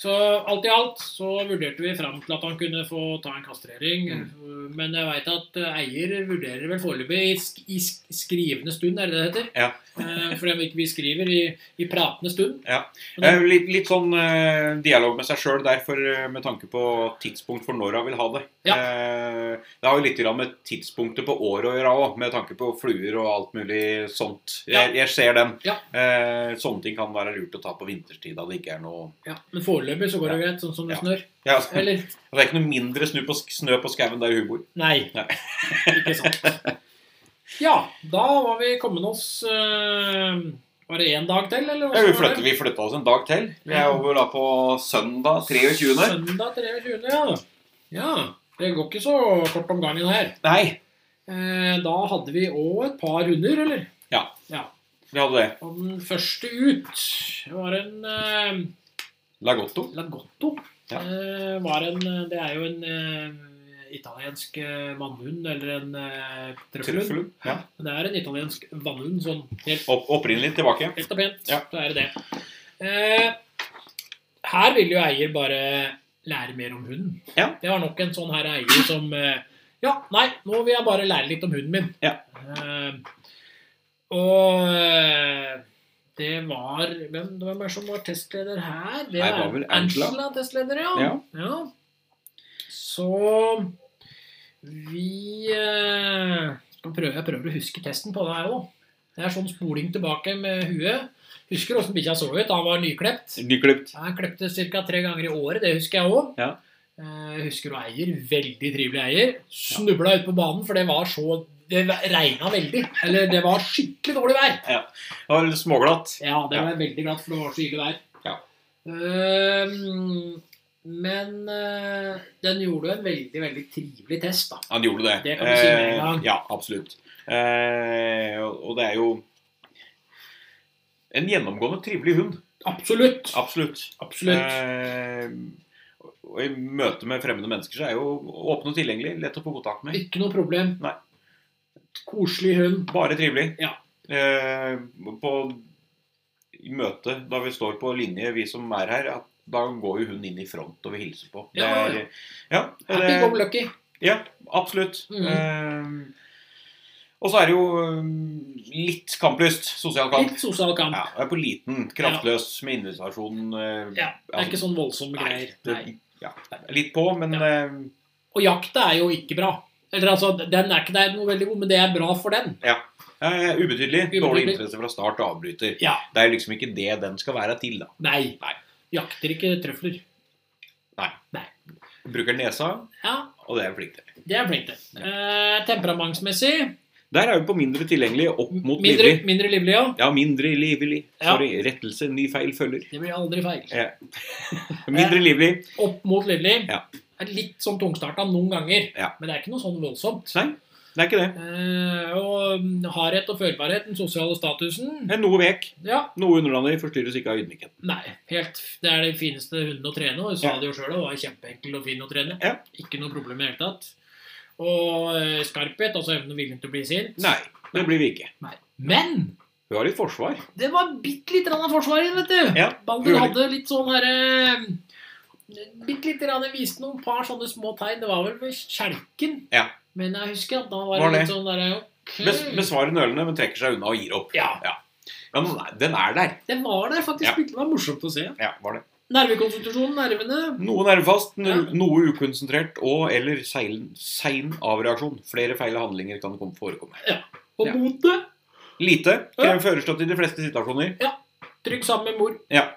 [SPEAKER 1] Så alt i alt så vurderte vi fram til at han kunne få ta en kastrering.
[SPEAKER 2] Mm.
[SPEAKER 1] Men jeg veit at eh, eier vurderer vel foreløpig i, sk i sk skrivende stund, er det det heter?
[SPEAKER 2] Ja.
[SPEAKER 1] Eh, Fordi om ikke vi skriver i, i pratende stund. Men det-
[SPEAKER 2] Eh, litt, litt sånn eh, dialog med seg sjøl der for, eh, med tanke på tidspunkt for når han vil ha det.
[SPEAKER 1] Ja.
[SPEAKER 2] Eh, det har jo litt grann med tidspunktet på året å gjøre òg, med tanke på fluer og alt mulig sånt. Jeg, jeg ser den.
[SPEAKER 1] Ja.
[SPEAKER 2] Eh, sånne ting kan være lurt å ta på vinterstid da det ikke er noe
[SPEAKER 1] Ja, Men foreløpig så går det greit, sånn som det
[SPEAKER 2] Ja.
[SPEAKER 1] snør.
[SPEAKER 2] ja, (laughs) altså,
[SPEAKER 1] Eller
[SPEAKER 2] Det er ikke noe mindre snø på, snø på skauen der hun bor.
[SPEAKER 1] Nei.
[SPEAKER 2] Nei.
[SPEAKER 1] ikke
[SPEAKER 2] (laughs)
[SPEAKER 1] sant. Ja, da var vi kommet oss eh, Var det én dag til, eller?
[SPEAKER 2] Ja,
[SPEAKER 1] hvordan var
[SPEAKER 2] vi,
[SPEAKER 1] det?
[SPEAKER 2] flytter, vi flytta oss en dag til. Vi er jo da på søndag 23.
[SPEAKER 1] Søndag 23. Ja. ja. Det går ikke så kort om gangen her.
[SPEAKER 2] Nei,
[SPEAKER 1] Eh, da hadde vi òg et par hunder, eller?
[SPEAKER 2] vi hadde det.
[SPEAKER 1] Og den første ut var en eh,
[SPEAKER 2] Lagotto.
[SPEAKER 1] Lagotto.
[SPEAKER 2] Ja.
[SPEAKER 1] Eh, var en, eh, det er jo en eh, italiensk eh, vannhund, eller en eh, trøffelhund.
[SPEAKER 2] Trøffelhund. Ja.
[SPEAKER 1] Det er en italiensk vannhund, sånn helt
[SPEAKER 2] Opp, opprinnelig tilbake.
[SPEAKER 1] Helt og pent,
[SPEAKER 2] Ja.
[SPEAKER 1] så er det det. Eh, her vil jo eier bare lære mer om hunden.
[SPEAKER 2] Ja.
[SPEAKER 1] Det var nok en sånn her eier som eh, Ja, nei, nå vil jeg bare lære litt om hunden min.
[SPEAKER 2] Ja.
[SPEAKER 1] Eh, og eh, det var Hvem, hvem er det som var testleder her? Det
[SPEAKER 2] Nei, det var
[SPEAKER 1] er
[SPEAKER 2] vel Angela.
[SPEAKER 1] testleder, ja.
[SPEAKER 2] Ja.
[SPEAKER 1] Ja. Så vi eh, skal prøve, Jeg prøver å huske testen på det her òg. Det er sånn spoling tilbake med huet. Husker åssen bikkja så ut da han var nyklept.
[SPEAKER 2] Nyklipt.
[SPEAKER 1] Han klepte ca. tre ganger i året, det husker jeg òg.
[SPEAKER 2] Ja.
[SPEAKER 1] Jeg husker hun eier, veldig trivelig eier, snubla ut på banen, for det var så Det regna veldig. Eller det var skikkelig dårlig vær.
[SPEAKER 2] Det var litt småglatt.
[SPEAKER 1] Ja, det var jeg veldig glad for, det var så ille vær.
[SPEAKER 2] Ja.
[SPEAKER 1] Ehm, men eh, den gjorde jo en veldig, veldig trivelig test, da.
[SPEAKER 2] Han gjorde det.
[SPEAKER 1] Det kan du si med en gang.
[SPEAKER 2] Eh, Ja, absolutt. Eh, og og det er jo en gjennomgående trivelig hund.
[SPEAKER 1] Absolutt.
[SPEAKER 2] Absolutt.
[SPEAKER 1] Absolutt.
[SPEAKER 2] Eh, og I møte med fremmede mennesker så er jo åpen og tilgjengelig. Lett å få kontakt med.
[SPEAKER 1] Ikke noe problem.
[SPEAKER 2] Nei.
[SPEAKER 1] Koselig hund.
[SPEAKER 2] Bare trivelig.
[SPEAKER 1] Ja.
[SPEAKER 2] Eh, på i møte, da vi står på linje, vi som er her, at da går jo hun inn i front og vil hilse på. Det
[SPEAKER 1] Ja,
[SPEAKER 2] er, ja,
[SPEAKER 1] Happy go lucky.
[SPEAKER 2] ja absolutt.
[SPEAKER 1] Mhm.
[SPEAKER 2] Eh, og så er det jo eh, litt kamplyst. Sosial kamp.
[SPEAKER 1] Litt sosial kamp.
[SPEAKER 2] Ja, det er på liten, kraftløs, med invitasjon eh,
[SPEAKER 1] Ja, Det er ikke sånn voldsomme
[SPEAKER 2] nei,
[SPEAKER 1] greier.
[SPEAKER 2] det,
[SPEAKER 1] Nei.
[SPEAKER 2] ja, Litt på, men
[SPEAKER 1] Ja.
[SPEAKER 2] eh,
[SPEAKER 1] Og jakta er jo ikke bra. Eller altså, den er ikke det er noe veldig god, men det er bra for den.
[SPEAKER 2] eh, ubetydelig. Dårlig
[SPEAKER 1] Ubetydelig.
[SPEAKER 2] interesse fra start og avbryter.
[SPEAKER 1] Ja.
[SPEAKER 2] Det er liksom ikke det den skal være til, da.
[SPEAKER 1] Nei.
[SPEAKER 2] Nei.
[SPEAKER 1] Jakter ikke trøfler.
[SPEAKER 2] Bruker nesa,
[SPEAKER 1] Ja,
[SPEAKER 2] og det er flink til.
[SPEAKER 1] det er flink til. Eh, temperamentsmessig
[SPEAKER 2] Der er vi på mindre tilgjengelig opp mot
[SPEAKER 1] mindre,
[SPEAKER 2] livlig.
[SPEAKER 1] mindre livlig, ja.
[SPEAKER 2] Ja, mindre livlig.
[SPEAKER 1] Ja.
[SPEAKER 2] Sorry, rettelse, ny feil følger.
[SPEAKER 1] Det blir aldri feil.
[SPEAKER 2] Mindre livlig.
[SPEAKER 1] Opp mot Lilly.
[SPEAKER 2] Ja.
[SPEAKER 1] Er litt sånn tungstarta noen ganger,
[SPEAKER 2] Ja.
[SPEAKER 1] men det er ikke noe sånn voldsomt.
[SPEAKER 2] Nei, det er ikke det.
[SPEAKER 1] Eh, og mm, hardhet og følbarhet, den sosiale statusen
[SPEAKER 2] Det er Noe vek,
[SPEAKER 1] Ja,
[SPEAKER 2] noe underlandig, forstyrres ikke av ydmykheten.
[SPEAKER 1] nei. helt, Det er de fineste hundene å trene. Og jeg sa
[SPEAKER 2] Ja.
[SPEAKER 1] det jo sjøl, det var kjempeenkel og fin å trene.
[SPEAKER 2] Ja.
[SPEAKER 1] Ikke noe problem i det hele tatt. Og eh, skarphet, altså evnen og viljen til å bli sint.
[SPEAKER 2] Nei, det blir vi ikke.
[SPEAKER 1] Nei. Men
[SPEAKER 2] Hun har litt forsvar.
[SPEAKER 1] det var bitte litt grann av forsvar igjen, vet du.
[SPEAKER 2] Ja,
[SPEAKER 1] Balder
[SPEAKER 2] Ulik.
[SPEAKER 1] hadde litt sånn herre Bitte lite grann viste noen par sånne små tegn. Det var vel ved skjelken.
[SPEAKER 2] Ja.
[SPEAKER 1] Men jeg husker at da var,
[SPEAKER 2] Var
[SPEAKER 1] det
[SPEAKER 2] det?
[SPEAKER 1] litt sånn derre ok.
[SPEAKER 2] Bes besvarer nølende, men trekker seg unna og gir opp.
[SPEAKER 1] Ja.
[SPEAKER 2] Ja, men nei, den er der.
[SPEAKER 1] Det var der faktisk.
[SPEAKER 2] Ja.
[SPEAKER 1] Det var morsomt å se.
[SPEAKER 2] Ja, var det.
[SPEAKER 1] Nervekonsentrasjon, nervene.
[SPEAKER 2] Noe nervefast, no-
[SPEAKER 1] Ja.
[SPEAKER 2] noe ukonsentrert og eller sein sein avreaksjon. Flere feil handlinger kan kom- forekomme.
[SPEAKER 1] Og
[SPEAKER 2] Ja.
[SPEAKER 1] motet.
[SPEAKER 2] Lite
[SPEAKER 1] Ja.
[SPEAKER 2] krever førerstøtte i de fleste situasjoner.
[SPEAKER 1] Trygg sammen med mor.
[SPEAKER 2] Ja.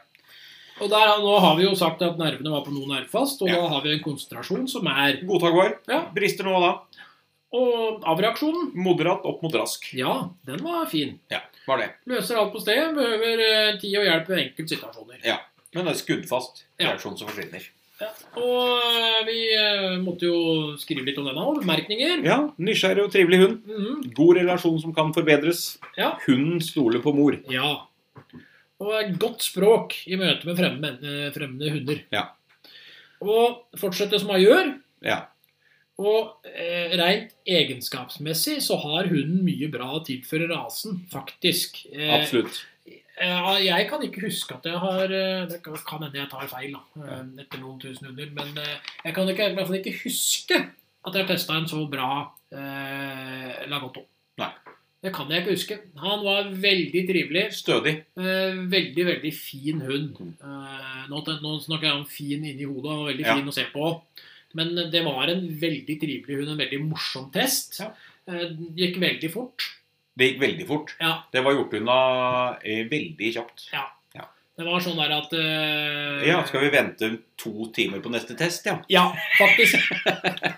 [SPEAKER 1] Og der, nå har vi jo sagt at nervene var på noe nervefast, og
[SPEAKER 2] Ja.
[SPEAKER 1] da har vi en konsentrasjon som er
[SPEAKER 2] Godtagbar.
[SPEAKER 1] Ja.
[SPEAKER 2] Brister nå og da.
[SPEAKER 1] Og avreaksjonen.
[SPEAKER 2] Moderat opp mot rask.
[SPEAKER 1] Ja, den var fin.
[SPEAKER 2] Ja, var det.
[SPEAKER 1] Løser alt på stedet. Behøver eh, tid og hjelp ved enkeltsituasjoner.
[SPEAKER 2] Men det er skuddfast
[SPEAKER 1] Ja.
[SPEAKER 2] reaksjon som forsvinner.
[SPEAKER 1] Ja. Og eh, vi eh, måtte jo skrive litt om denne òg. Bemerkninger.
[SPEAKER 2] Ja, Nysgjerrig og trivelig hund.
[SPEAKER 1] Mhm.
[SPEAKER 2] God relasjon som kan forbedres.
[SPEAKER 1] Ja.
[SPEAKER 2] Hunden stoler på mor.
[SPEAKER 1] ja. Og et godt språk i møte med fremmede, eh, fremmede hunder.
[SPEAKER 2] Ja.
[SPEAKER 1] Og fortsette som han gjør.
[SPEAKER 2] Ja.
[SPEAKER 1] Og eh, rent egenskapsmessig så har hunden mye bra å tilføre rasen, faktisk. Eh,
[SPEAKER 2] Absolutt.
[SPEAKER 1] Eh, jeg kan ikke huske at jeg har eh, Det kan kan hende jeg tar feil da, eh, etter noen tusen hunder, men eh, jeg kan ikke, i hvert fall ikke huske at jeg testa en så bra eh, Lagotto.
[SPEAKER 2] Nei.
[SPEAKER 1] Det kan jeg ikke huske. Han var veldig trivelig.
[SPEAKER 2] Stødig.
[SPEAKER 1] Eh, veldig, veldig
[SPEAKER 2] Mm.
[SPEAKER 1] fin hund. Eh, nå, ten- nå snakker jeg om fin inni hodet og veldig
[SPEAKER 2] Ja.
[SPEAKER 1] fin å se på. Men det var en veldig trivelig hund, en veldig morsom test.
[SPEAKER 2] Ja.
[SPEAKER 1] Eh, Gikk veldig fort.
[SPEAKER 2] Det gikk veldig fort.
[SPEAKER 1] Ja.
[SPEAKER 2] Det var gjort unna eh, veldig kjapt.
[SPEAKER 1] Det var sånn der at eh,
[SPEAKER 2] Ja, skal vi vente to timer på neste test, ja?
[SPEAKER 1] Ja, faktisk.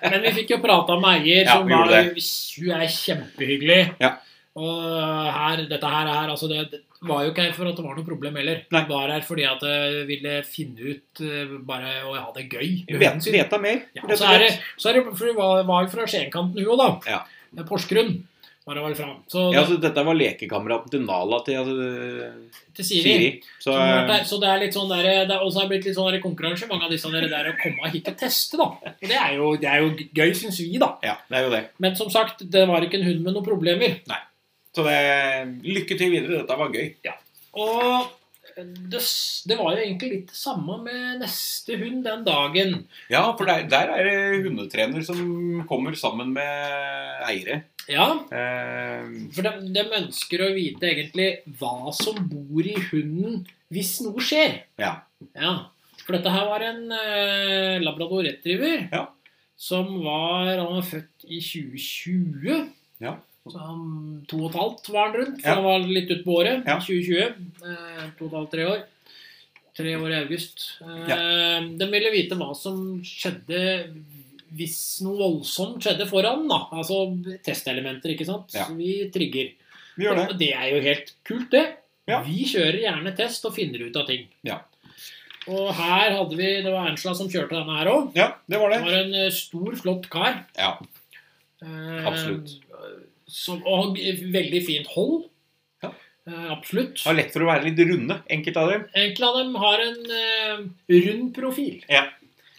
[SPEAKER 1] Men vi fikk jo prata med eier,
[SPEAKER 2] Ja,
[SPEAKER 1] som
[SPEAKER 2] vi gjorde
[SPEAKER 1] var, hun er kjempehyggelig.
[SPEAKER 2] Ja.
[SPEAKER 1] Og her, dette her er altså det, det var jo ikke her for at det var noe problem heller.
[SPEAKER 2] Nei.
[SPEAKER 1] Det var her fordi at jeg ville finne ut eh, bare å ha det gøy. med
[SPEAKER 2] Vet,
[SPEAKER 1] hunden sin.
[SPEAKER 2] veta mer,
[SPEAKER 1] Ja,
[SPEAKER 2] rett og
[SPEAKER 1] så er det,
[SPEAKER 2] slett.
[SPEAKER 1] så er det for hun var, var jo fra Skienkanten, hun òg, da.
[SPEAKER 2] Ja.
[SPEAKER 1] Eh, Porsgrunn var hun vel fra. Så
[SPEAKER 2] Ja, så dette var lekekameraten til Nala til altså,
[SPEAKER 1] til Siri.
[SPEAKER 2] Siri.
[SPEAKER 1] Som
[SPEAKER 2] Så,
[SPEAKER 1] har vært
[SPEAKER 2] eh,
[SPEAKER 1] der. Så det er litt sånn der, det er også har blitt litt sånn der konkurranse mange av disse der, der å komme hit og teste. da. Og Det er jo, det er jo gøy, syns vi. da.
[SPEAKER 2] ja, det er jo det.
[SPEAKER 1] Men som sagt, det var ikke en hund med noen problemer.
[SPEAKER 2] Så det, lykke til videre. Dette var gøy.
[SPEAKER 1] Og det, s- det var jo egentlig litt det samme med neste hund den dagen.
[SPEAKER 2] Ja, for der, der er det hundetrener som kommer sammen med eiere.
[SPEAKER 1] Ja,
[SPEAKER 2] Eh,
[SPEAKER 1] for de, de ønsker å vite egentlig hva som bor i hunden hvis noe skjer.
[SPEAKER 2] ja.
[SPEAKER 1] Ja, for dette her var en eh, labrador retriever
[SPEAKER 2] Ja.
[SPEAKER 1] som var Han var født i 2020.
[SPEAKER 2] Ja.
[SPEAKER 1] Så han, to og et halvt var han rundt. for
[SPEAKER 2] Ja.
[SPEAKER 1] Han var litt utpå året.
[SPEAKER 2] Ja.
[SPEAKER 1] 2020. Eh, to og et halvt, tre år. Tre år i august. Eh, De ville vite hva som skjedde hvis noe voldsomt skjedde foran. da. Altså testelementer, ikke sant.
[SPEAKER 2] Ja.
[SPEAKER 1] Så vi trigger.
[SPEAKER 2] Vi gjør det.
[SPEAKER 1] Og det er jo helt kult, det.
[SPEAKER 2] Ja.
[SPEAKER 1] Vi kjører gjerne test og finner ut av ting.
[SPEAKER 2] Ja.
[SPEAKER 1] Og her hadde vi Det var Angela som kjørte denne her òg.
[SPEAKER 2] Ja, det var
[SPEAKER 1] Det
[SPEAKER 2] det.
[SPEAKER 1] var en eh, stor, flott kar.
[SPEAKER 2] Ja,
[SPEAKER 1] Eh,
[SPEAKER 2] Absolutt.
[SPEAKER 1] Som, og veldig fint hold.
[SPEAKER 2] Ja.
[SPEAKER 1] Eh, absolutt.
[SPEAKER 2] Det var lett for å være litt runde, enkelte av dem.
[SPEAKER 1] Enkelte av dem har en eh, rund profil.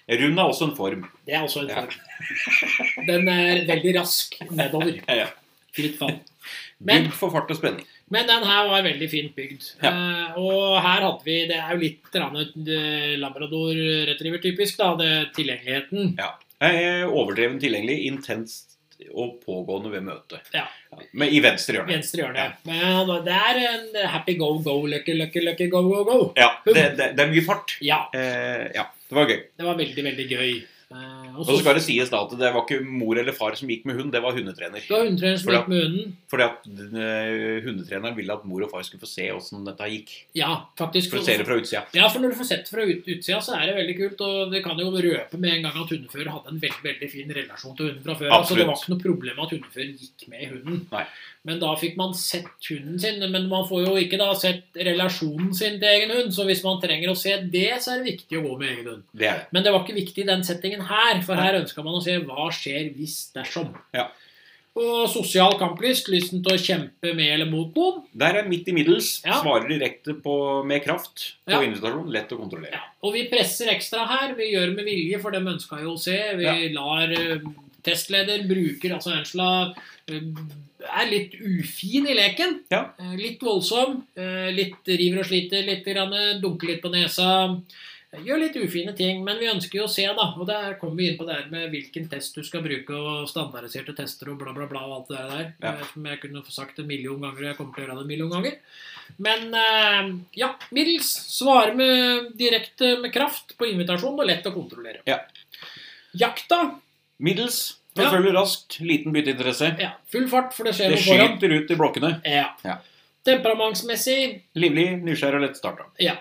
[SPEAKER 2] Rund er også en form.
[SPEAKER 1] Det er også en
[SPEAKER 2] Ja.
[SPEAKER 1] form. Den er veldig rask nedover.
[SPEAKER 2] Ja, ja.
[SPEAKER 1] Fritt
[SPEAKER 2] (laughs)
[SPEAKER 1] fall. Men-
[SPEAKER 2] Bygd for fart og spenning.
[SPEAKER 1] Men den her var veldig fint bygd.
[SPEAKER 2] Ja.
[SPEAKER 1] Eh, og her hadde vi Det er jo litt grann et, eh, labrador retriever typisk, da. Det, tilgjengeligheten.
[SPEAKER 2] Eh, Overdreven tilgjengelig, intenst og pågående ved møte.
[SPEAKER 1] Ja.
[SPEAKER 2] Men i venstre hjørne.
[SPEAKER 1] Venstre hjørne. Men det er en happy go, go, lucky, lucky, lucky, go, go, go.
[SPEAKER 2] Ja, det, det, det er mye fart.
[SPEAKER 1] Ja.
[SPEAKER 2] Eh, ja, det var gøy.
[SPEAKER 1] Det var veldig, veldig gøy. Eh, og
[SPEAKER 2] Og så skal det sies da at det var ikke mor eller far som gikk med hund, det var hundetrener.
[SPEAKER 1] Det var hundetreneren som
[SPEAKER 2] For da-
[SPEAKER 1] gikk med hunden.
[SPEAKER 2] Fordi at eh, hundetreneren ville at mor og far skulle få se åssen dette gikk.
[SPEAKER 1] Ja, faktisk.
[SPEAKER 2] For å se det fra utsida.
[SPEAKER 1] Ja, for når du får sett det fra ut, utsida, så er det veldig kult. Og det kan jo røpe med en gang at hundefører hadde en veldig veldig fin relasjon til hunden fra før. av, Så det var
[SPEAKER 2] Absolutt.
[SPEAKER 1] ikke noe problem at hundefører gikk med hunden.
[SPEAKER 2] Nei.
[SPEAKER 1] Men da fikk man sett hunden sin. Men man får jo ikke da sett relasjonen sin til egen hund. Så hvis man trenger å se det, så er det viktig å gå med egen hund.
[SPEAKER 2] Det er det.
[SPEAKER 1] Men det var ikke viktig i den settingen her, for her ønska man å se hva skjer hvis dersom.
[SPEAKER 2] Ja.
[SPEAKER 1] Og sosial kamplyst, lysten til å kjempe med eller mot noen.
[SPEAKER 2] Der er midt i middels.
[SPEAKER 1] Ja.
[SPEAKER 2] Svarer direkte på, med kraft på
[SPEAKER 1] Ja.
[SPEAKER 2] invitasjon. Lett å kontrollere.
[SPEAKER 1] Ja. Og vi presser ekstra her. Vi gjør med vilje, for dem ønska jo å se. Vi lar eh, testleder bruker altså Angela eh, er litt ufin i leken.
[SPEAKER 2] Ja.
[SPEAKER 1] Eh, Litt voldsom. eh, Litt river og sliter litt, grann, dunker litt på nesa. Eh, Gjør litt ufine ting, men vi ønsker jo å se, da. Og der kommer vi inn på det her med hvilken test du skal bruke, og standardiserte tester og bla, bla, bla, og alt det der.
[SPEAKER 2] Ja.
[SPEAKER 1] eh, Som jeg kunne få sagt en million ganger, og jeg kommer til å gjøre det en million ganger. Men eh, ja, middels. Svarer med direkte med kraft på invitasjon og lett å kontrollere.
[SPEAKER 2] Ja.
[SPEAKER 1] Jakta.
[SPEAKER 2] Middels.
[SPEAKER 1] Ja.
[SPEAKER 2] Forfølger raskt. Liten bytteinteresse.
[SPEAKER 1] Ja, full fart, for det skjer
[SPEAKER 2] Det
[SPEAKER 1] noe foran.
[SPEAKER 2] skyter ut i blokkene.
[SPEAKER 1] Ja.
[SPEAKER 2] Ja.
[SPEAKER 1] Temperamentsmessig,
[SPEAKER 2] Livlig, nysgjerrig og lettstarta.
[SPEAKER 1] ja.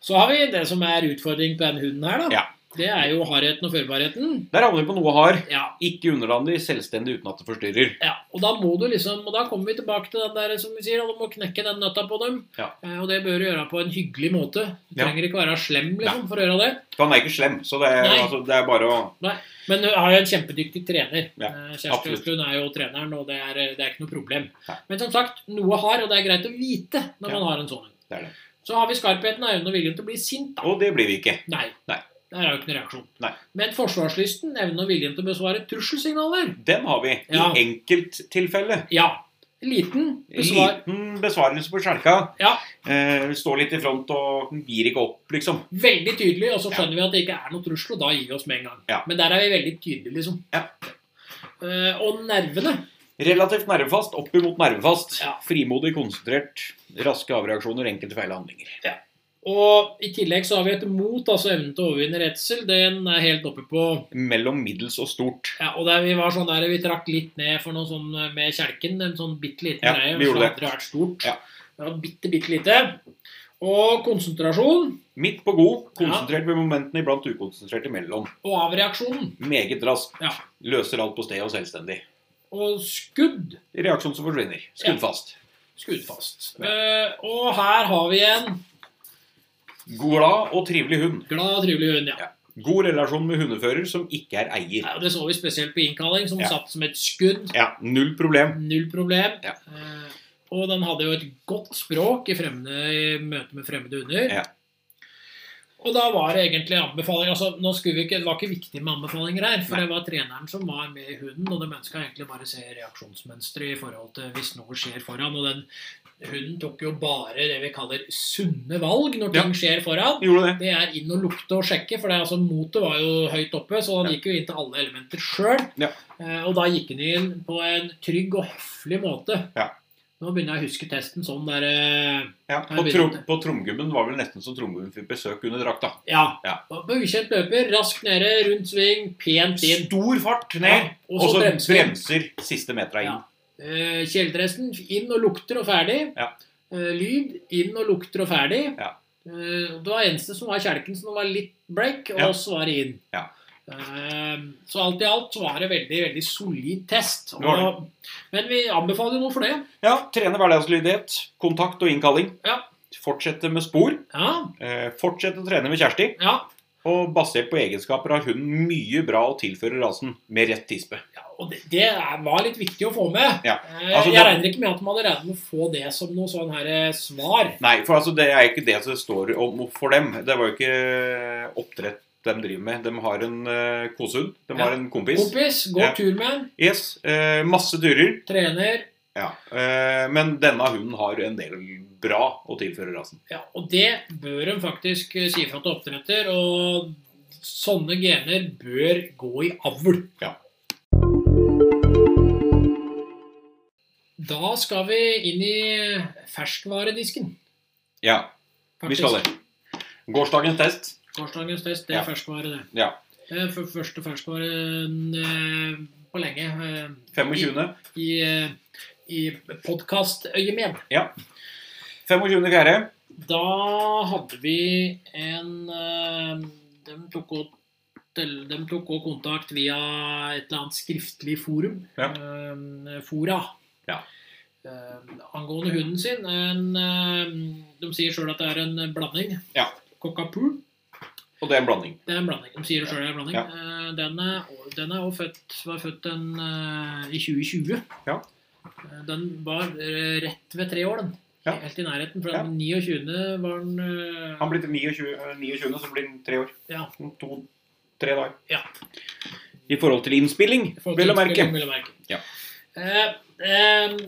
[SPEAKER 1] Så har vi det som er utfordring på den hunden her, da.
[SPEAKER 2] Ja.
[SPEAKER 1] Det er jo hardheten og førbarheten.
[SPEAKER 2] Der havner vi på noe hard.
[SPEAKER 1] Ja.
[SPEAKER 2] Ikke underlandig, selvstendig uten at det forstyrrer.
[SPEAKER 1] Ja, og da må du liksom, og da kommer vi tilbake til den der som vi sier, da, du må knekke den nøtta på dem.
[SPEAKER 2] Ja.
[SPEAKER 1] Eh, Og det bør du gjøre på en hyggelig måte. Du
[SPEAKER 2] Ja.
[SPEAKER 1] trenger ikke være slem liksom, for å gjøre det.
[SPEAKER 2] For han er ikke slem, så det er,
[SPEAKER 1] Nei.
[SPEAKER 2] altså, det er bare å
[SPEAKER 1] Men du har jo en kjempedyktig trener.
[SPEAKER 2] Ja,
[SPEAKER 1] Eh, Kjersti
[SPEAKER 2] absolutt.
[SPEAKER 1] Østlund er jo treneren, og det er, det er ikke noe problem.
[SPEAKER 2] Nei.
[SPEAKER 1] Men som sagt, noe har, og det er greit å vite når
[SPEAKER 2] Ja.
[SPEAKER 1] man har en sånn.
[SPEAKER 2] Det er det.
[SPEAKER 1] Så har vi skarpheten, evnen og viljen til å bli sint, da.
[SPEAKER 2] Og det blir vi ikke.
[SPEAKER 1] Nei.
[SPEAKER 2] Nei.
[SPEAKER 1] Der er jo ikke noen reaksjon.
[SPEAKER 2] Nei.
[SPEAKER 1] Men forsvarslysten, evnen og viljen til å besvare trusselsignaler.
[SPEAKER 2] Den har vi.
[SPEAKER 1] Ja.
[SPEAKER 2] I enkelttilfelle.
[SPEAKER 1] Ja. Liten besvar.
[SPEAKER 2] Liten besvarelse på skjelka.
[SPEAKER 1] Ja.
[SPEAKER 2] Eh, står litt i front og gir ikke opp, liksom.
[SPEAKER 1] Veldig tydelig, og så skjønner vi at det ikke er noe trussel, og da gir vi oss med en gang.
[SPEAKER 2] Ja.
[SPEAKER 1] Men der er vi veldig tydelige, liksom.
[SPEAKER 2] Ja.
[SPEAKER 1] Eh, og nervene.
[SPEAKER 2] Relativt nervefast opp imot nervefast.
[SPEAKER 1] Ja.
[SPEAKER 2] Frimodig, konsentrert, raske avreaksjoner, enkelte feil handlinger.
[SPEAKER 1] Og i tillegg så har vi et mot, altså evnen til å overvinne redsel. Den er helt oppe på
[SPEAKER 2] Mellom middels og stort.
[SPEAKER 1] ja, Og der vi var sånn der, vi trakk litt ned for noe sånn med kjelken. En sånn bitte liten
[SPEAKER 2] Ja,
[SPEAKER 1] greie.
[SPEAKER 2] vi gjorde
[SPEAKER 1] som
[SPEAKER 2] det.
[SPEAKER 1] aldri har vært stort.
[SPEAKER 2] Ja.
[SPEAKER 1] Det var bitte, bitte lite. Og konsentrasjon
[SPEAKER 2] Midt på god, konsentrert ved momentene, iblant ukonsentrert imellom.
[SPEAKER 1] og avreaksjon.
[SPEAKER 2] Meget raskt.
[SPEAKER 1] Ja.
[SPEAKER 2] Løser alt på stedet og selvstendig.
[SPEAKER 1] Og skudd.
[SPEAKER 2] Reaksjon som forsvinner. Skudd fast.
[SPEAKER 1] Skudd fast. Eh, og her har vi en
[SPEAKER 2] Glad og trivelig hund.
[SPEAKER 1] glad og trivelig hund, ja.
[SPEAKER 2] Ja. God relasjon med hundefører som ikke er eier.
[SPEAKER 1] Ja, og Det så vi spesielt på innkalling, som
[SPEAKER 2] Ja.
[SPEAKER 1] satt som et skudd.
[SPEAKER 2] Ja, Null problem.
[SPEAKER 1] Null problem.
[SPEAKER 2] Ja.
[SPEAKER 1] Eh, og den hadde jo et godt språk i, fremmede, i møte med fremmede hunder.
[SPEAKER 2] Ja.
[SPEAKER 1] Og da var det egentlig anbefaling. altså nå skulle vi ikke, Det var ikke viktig med anbefalinger her, for
[SPEAKER 2] Nei.
[SPEAKER 1] det var treneren som var med i hunden, og det mennesket egentlig bare se reaksjonsmønsteret i forhold til hvis noe skjer foran. Og den hunden tok jo bare det vi kaller sunne valg når
[SPEAKER 2] Ja.
[SPEAKER 1] ting skjer foran.
[SPEAKER 2] Gjorde det.
[SPEAKER 1] Det er inn og lukte og sjekke, for det, er altså, motet var jo høyt oppe, så han
[SPEAKER 2] Ja.
[SPEAKER 1] gikk jo inn til alle elementer sjøl.
[SPEAKER 2] Ja.
[SPEAKER 1] Eh, og da gikk han inn på en trygg og høflig måte.
[SPEAKER 2] Ja.
[SPEAKER 1] Nå begynner jeg å huske testen sånn der eh,
[SPEAKER 2] Ja, på, trom, på tromgubben var vel nesten så tromgubben fikk besøk under drakta.
[SPEAKER 1] Ja.
[SPEAKER 2] Ja.
[SPEAKER 1] Og På ukjent løper, raskt nede, rundt sving, pent inn.
[SPEAKER 2] Stor fart ned,
[SPEAKER 1] Ja,
[SPEAKER 2] og så
[SPEAKER 1] bremser.
[SPEAKER 2] bremser siste metra inn.
[SPEAKER 1] Ja. Eh, kjeledressen inn og lukter og ferdig.
[SPEAKER 2] Ja.
[SPEAKER 1] Eh, lyd inn og lukter og ferdig.
[SPEAKER 2] Ja.
[SPEAKER 1] Eh, det var eneste som var kjelken, som var litt break, og
[SPEAKER 2] Ja.
[SPEAKER 1] svaret inn.
[SPEAKER 2] Ja.
[SPEAKER 1] Eh, så alt i alt så var det veldig veldig solid test.
[SPEAKER 2] Det var det.
[SPEAKER 1] Og- men vi anbefaler jo noe for det.
[SPEAKER 2] Ja, trene hverdagslydighet, kontakt og innkalling.
[SPEAKER 1] Ja.
[SPEAKER 2] Fortsette med spor.
[SPEAKER 1] Ja,
[SPEAKER 2] Eh, fortsette å trene med Kjersti.
[SPEAKER 1] ja.
[SPEAKER 2] Og basert på egenskaper har hunden mye bra å tilføre rasen med rett tispe.
[SPEAKER 1] ja og det, det er- var litt viktig å få med.
[SPEAKER 2] Ja.
[SPEAKER 1] Eh,
[SPEAKER 2] Altså,
[SPEAKER 1] jeg
[SPEAKER 2] da-
[SPEAKER 1] regner ikke med at man hadde regnet med å få det som noe sånn her eh, svar.
[SPEAKER 2] Nei, for altså, det er ikke det som står om for dem. Det var jo ikke eh, oppdrett de driver med. De har en eh, kosehund. De
[SPEAKER 1] Ja.
[SPEAKER 2] har en kompis.
[SPEAKER 1] Kompis, gå
[SPEAKER 2] Ja.
[SPEAKER 1] tur med den.
[SPEAKER 2] Yes, eh, masse turer.
[SPEAKER 1] Trener.
[SPEAKER 2] Ja, eh, men denne hunden har en del bra å tilføre rasen.
[SPEAKER 1] Ja, og det bør en faktisk eh, si fra til oppdretter, og sånne gener bør gå i avl.
[SPEAKER 2] Ja.
[SPEAKER 1] Da skal vi inn i ferskvaredisken.
[SPEAKER 2] Ja, vi skal det. Gårsdagens test.
[SPEAKER 1] Gårsdagens test, det er
[SPEAKER 2] Ja.
[SPEAKER 1] ferskvare, det.
[SPEAKER 2] Ja.
[SPEAKER 1] Det er f- første ferskvaren eh, på lenge eh,
[SPEAKER 2] 25.
[SPEAKER 1] i, eh, i podkastøyemed.
[SPEAKER 2] 25. fjerde.
[SPEAKER 1] Da hadde vi en eh, De tok også, de tok også kontakt via et eller annet skriftlig forum.
[SPEAKER 2] Ja.
[SPEAKER 1] eh, Fora.
[SPEAKER 2] Ja.
[SPEAKER 1] Eh, Angående hunden sin en, eh, De sier sjøl at det er en blanding.
[SPEAKER 2] Ja.
[SPEAKER 1] Cockapoo.
[SPEAKER 2] Og det er en blanding.
[SPEAKER 1] Det er en blanding. De sier sjøl det er en blanding.
[SPEAKER 2] Ja.
[SPEAKER 1] Eh, Den er, den er også født, var født en, eh, i 2020.
[SPEAKER 2] Ja.
[SPEAKER 1] Eh, Den var eh, rett ved tre år, den.
[SPEAKER 2] Ja.
[SPEAKER 1] Helt i nærheten. For
[SPEAKER 2] Ja.
[SPEAKER 1] den 29. var den eh,
[SPEAKER 2] Han blir til 29, eh, 29 så blir han tre år.
[SPEAKER 1] Ja.
[SPEAKER 2] Om To, tre dager.
[SPEAKER 1] Ja.
[SPEAKER 2] I forhold til innspilling,
[SPEAKER 1] i forhold til
[SPEAKER 2] vel å merke.
[SPEAKER 1] innspilling, Vel å merke.
[SPEAKER 2] Ja.
[SPEAKER 1] Eh, eh,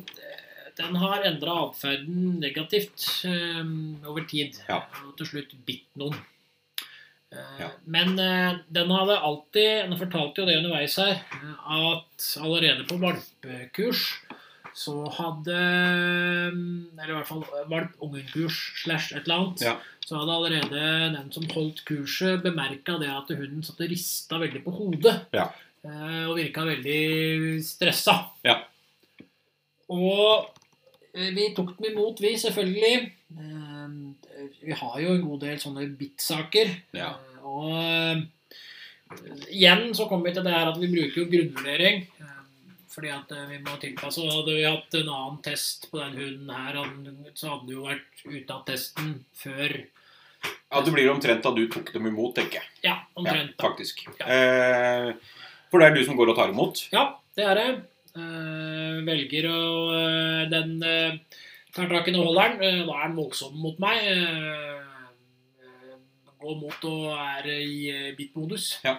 [SPEAKER 1] den har endra atferden negativt eh, over tid.
[SPEAKER 2] Ja.
[SPEAKER 1] Og til slutt bitt noen. Eh,
[SPEAKER 2] Ja.
[SPEAKER 1] Men eh, den hadde alltid Den fortalte jo det underveis her eh, at allerede på valpekurs så hadde eh, Eller i hvert fall valp-ungekurs slash et eller annet.
[SPEAKER 2] Ja.
[SPEAKER 1] Så hadde allerede den som holdt kurset, bemerka det at hunden satt og rista veldig på hodet. Eh, og virka veldig stressa.
[SPEAKER 2] Ja.
[SPEAKER 1] Og eh, vi tok den imot, vi, selvfølgelig. Eh, vi har jo en god del sånne bittsaker.
[SPEAKER 2] Ja.
[SPEAKER 1] Eh, og eh, igjen så kommer vi til det her at vi bruker jo grunnvurdering. eh, fordi at eh, vi må tilpasse. Og hadde vi hatt en annen test på den hunden her, hadde- så hadde det jo vært ute av testen før
[SPEAKER 2] Ja, det blir omtrent da du tok dem imot, tenker jeg.
[SPEAKER 1] Ja,
[SPEAKER 2] Ja,
[SPEAKER 1] omtrent. da.
[SPEAKER 2] faktisk. Eh, for det er du som går og tar imot.
[SPEAKER 1] Ja, det er det. Eh, velger å eh, Den eh, tar tak i den og holder den. Eh, da er den voldsom mot meg. Eh, eh, går mot og er i uh, bitt-modus.
[SPEAKER 2] Ja.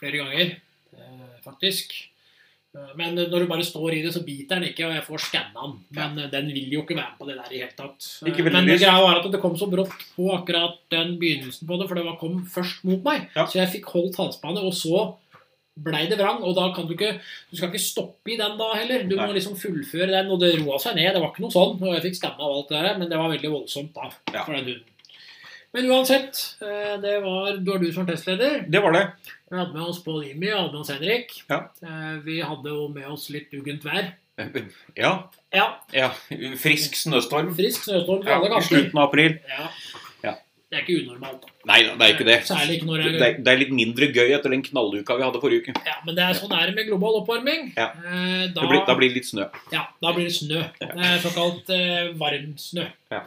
[SPEAKER 1] Flere ganger, eh, faktisk. Eh, Men når du bare står i det, så biter den ikke, og jeg får skanna den. Men eh, den vil jo ikke være med på det der i hele tatt. Eh,
[SPEAKER 2] Ikke veldig
[SPEAKER 1] Men det
[SPEAKER 2] lyst.
[SPEAKER 1] greia var at det kom så brått på akkurat den begynnelsen på det, for det var, kom først mot meg.
[SPEAKER 2] Ja.
[SPEAKER 1] Så jeg fikk holdt halsbåndet, og så blei det vrang. Og da kan du ikke Du skal ikke stoppe i den da heller. Du må
[SPEAKER 2] Nei.
[SPEAKER 1] liksom fullføre den. Og det roa seg ned. Det var ikke noe sånn. Og jeg fikk stemma av alt det der, men det var veldig voldsomt da.
[SPEAKER 2] Ja.
[SPEAKER 1] For den hunden. Men uansett, eh, det var, det var du som var testleder.
[SPEAKER 2] Det var det.
[SPEAKER 1] Vi hadde med oss Pål Jimmy og hadde med oss Henrik.
[SPEAKER 2] Ja.
[SPEAKER 1] Eh, Vi hadde jo med oss litt uggent vær.
[SPEAKER 2] Ja.
[SPEAKER 1] Ja,
[SPEAKER 2] ja. Frisk snøstorm
[SPEAKER 1] frisk snøstorm på
[SPEAKER 2] ja,
[SPEAKER 1] alle
[SPEAKER 2] i
[SPEAKER 1] kanter.
[SPEAKER 2] slutten av april.
[SPEAKER 1] Ja.
[SPEAKER 2] Ja.
[SPEAKER 1] Det er ikke unormalt. da.
[SPEAKER 2] Nei da, det er ikke det.
[SPEAKER 1] Særlig ikke når det
[SPEAKER 2] Det
[SPEAKER 1] er
[SPEAKER 2] er, det er litt mindre gøy etter den knalluka vi hadde forrige uke.
[SPEAKER 1] Ja, men det er sånn er det med global oppvarming.
[SPEAKER 2] Ja.
[SPEAKER 1] Eh, Da,
[SPEAKER 2] Det blir, da blir det litt snø.
[SPEAKER 1] ja, da blir det snø. Eh, Såkalt eh, varm snø.
[SPEAKER 2] Han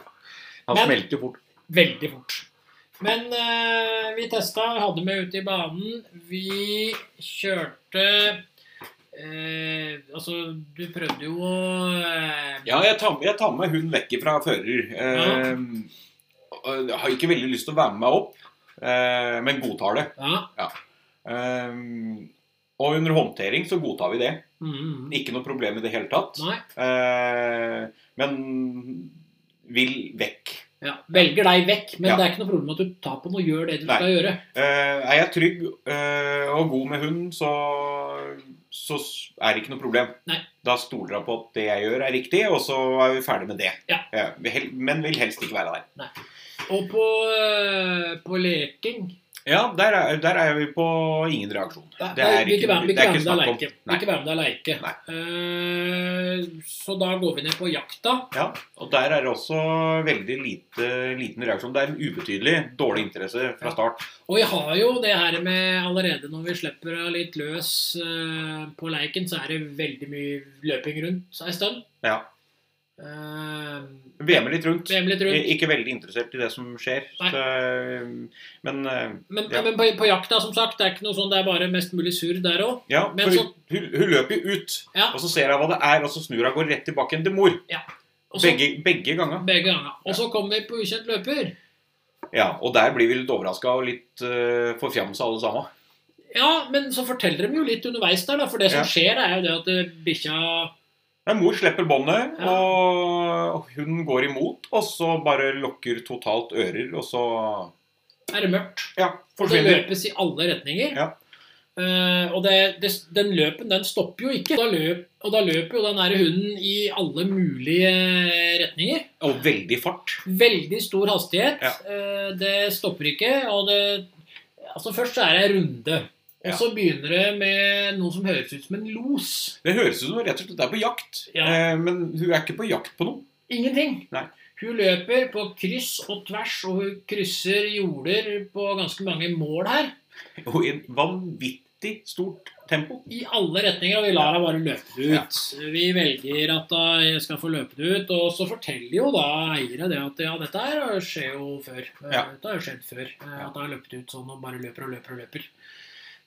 [SPEAKER 1] Men-
[SPEAKER 2] smelter jo fort.
[SPEAKER 1] Veldig fort. Men eh, vi testa, hadde med ut i banen. Vi kjørte eh, Altså, du prøvde jo å eh,
[SPEAKER 2] Ja, jeg tar, med- jeg tar med hun vekk fra fører. Eh, og Jeg har ikke veldig lyst til å være med meg opp, eh, men godtar det.
[SPEAKER 1] Ja.
[SPEAKER 2] Eh, og under håndtering så godtar vi det.
[SPEAKER 1] Mm,
[SPEAKER 2] Ikke noe problem i det hele tatt.
[SPEAKER 1] nei.
[SPEAKER 2] Eh, men vil vekk.
[SPEAKER 1] Ja, velger deg vekk, men
[SPEAKER 2] Ja.
[SPEAKER 1] det er ikke noe problem at du tar på noe og gjør det du
[SPEAKER 2] Nei.
[SPEAKER 1] skal gjøre.
[SPEAKER 2] Eh, er jeg trygg eh, og god med hund, så, så s- er det ikke noe problem.
[SPEAKER 1] Nei.
[SPEAKER 2] Da stoler jeg på at det jeg gjør, er riktig, og så er vi ferdig med det.
[SPEAKER 1] Ja.
[SPEAKER 2] Eh, vi hel- men vil helst ikke være der.
[SPEAKER 1] Og på, eh, på leking
[SPEAKER 2] Ja, der er, der er vi på ingen reaksjon.
[SPEAKER 1] Nei,
[SPEAKER 2] Det er
[SPEAKER 1] vil
[SPEAKER 2] ikke-
[SPEAKER 1] være- vil
[SPEAKER 2] det er
[SPEAKER 1] være med deg
[SPEAKER 2] ikke snakk om.
[SPEAKER 1] leike. Vil
[SPEAKER 2] Nei.
[SPEAKER 1] Ikke være med deg leike. Eh, så da går vi ned på jakta.
[SPEAKER 2] Ja, og der er det også veldig lite, liten reaksjon. Det er en ubetydelig dårlig interesse fra start.
[SPEAKER 1] Og vi har jo det her med allerede når vi slipper deg litt løs eh, på leiken, så er det veldig mye løping rundt ei stund.
[SPEAKER 2] Ja.
[SPEAKER 1] Eh,
[SPEAKER 2] VM litt rundt.
[SPEAKER 1] VM litt rundt.
[SPEAKER 2] Ikke veldig interessert i det som skjer.
[SPEAKER 1] Nei.
[SPEAKER 2] Så, men eh,
[SPEAKER 1] Men,
[SPEAKER 2] Ja.
[SPEAKER 1] men på, på jakta, som sagt, det er ikke noe sånn, det er bare mest mulig surr der òg.
[SPEAKER 2] ja,
[SPEAKER 1] Men
[SPEAKER 2] for
[SPEAKER 1] så-
[SPEAKER 2] hun, hun løper jo ut,
[SPEAKER 1] Ja.
[SPEAKER 2] og så ser jeg hva det er, og så snur hun og går rett tilbake igjen til mor.
[SPEAKER 1] Og så-
[SPEAKER 2] Begge, begge ganger.
[SPEAKER 1] begge ganger. Og så kommer vi på ukjent løper.
[SPEAKER 2] Ja, og der blir vi litt overraska og litt uh, forfjamsa alle sammen.
[SPEAKER 1] Ja, men så forteller de jo litt underveis der, da. For det som
[SPEAKER 2] Ja.
[SPEAKER 1] skjer, er jo det at eh, bikkja
[SPEAKER 2] Men mor slipper båndet,
[SPEAKER 1] Ja.
[SPEAKER 2] og og hun går imot, og så bare lukker totalt ører, og så
[SPEAKER 1] er det mørkt.
[SPEAKER 2] ja,
[SPEAKER 1] Og det
[SPEAKER 2] forsvinner.
[SPEAKER 1] løpes i alle retninger.
[SPEAKER 2] Ja.
[SPEAKER 1] Eh, og det, det, den løpen den stopper jo ikke. Da løp, og da løper jo den her hunden i alle mulige retninger.
[SPEAKER 2] Og veldig fart.
[SPEAKER 1] Veldig stor hastighet.
[SPEAKER 2] Ja.
[SPEAKER 1] Eh, det stopper ikke. Og det, altså først så er det en runde. Og
[SPEAKER 2] Ja.
[SPEAKER 1] så begynner det med noe som høres ut som en los.
[SPEAKER 2] Det høres ut som hun rett og slett er på jakt,
[SPEAKER 1] Ja.
[SPEAKER 2] eh, men hun er ikke på jakt på noe.
[SPEAKER 1] Ingenting.
[SPEAKER 2] Nei.
[SPEAKER 1] Hun løper på kryss og tvers, og hun krysser jorder på ganske mange mål her.
[SPEAKER 2] Og i en vanvittig stort tempo.
[SPEAKER 1] i alle retninger, og vi lar henne bare løpe det ut. Vi velger at da jeg skal få løpe det ut, og så forteller jo da eiere det at ja, dette her skjer jo før. Eh,
[SPEAKER 2] Ja.
[SPEAKER 1] Dette har jo skjedd før. eh,
[SPEAKER 2] Ja.
[SPEAKER 1] At det har løpt ut sånn og bare løper og løper og løper.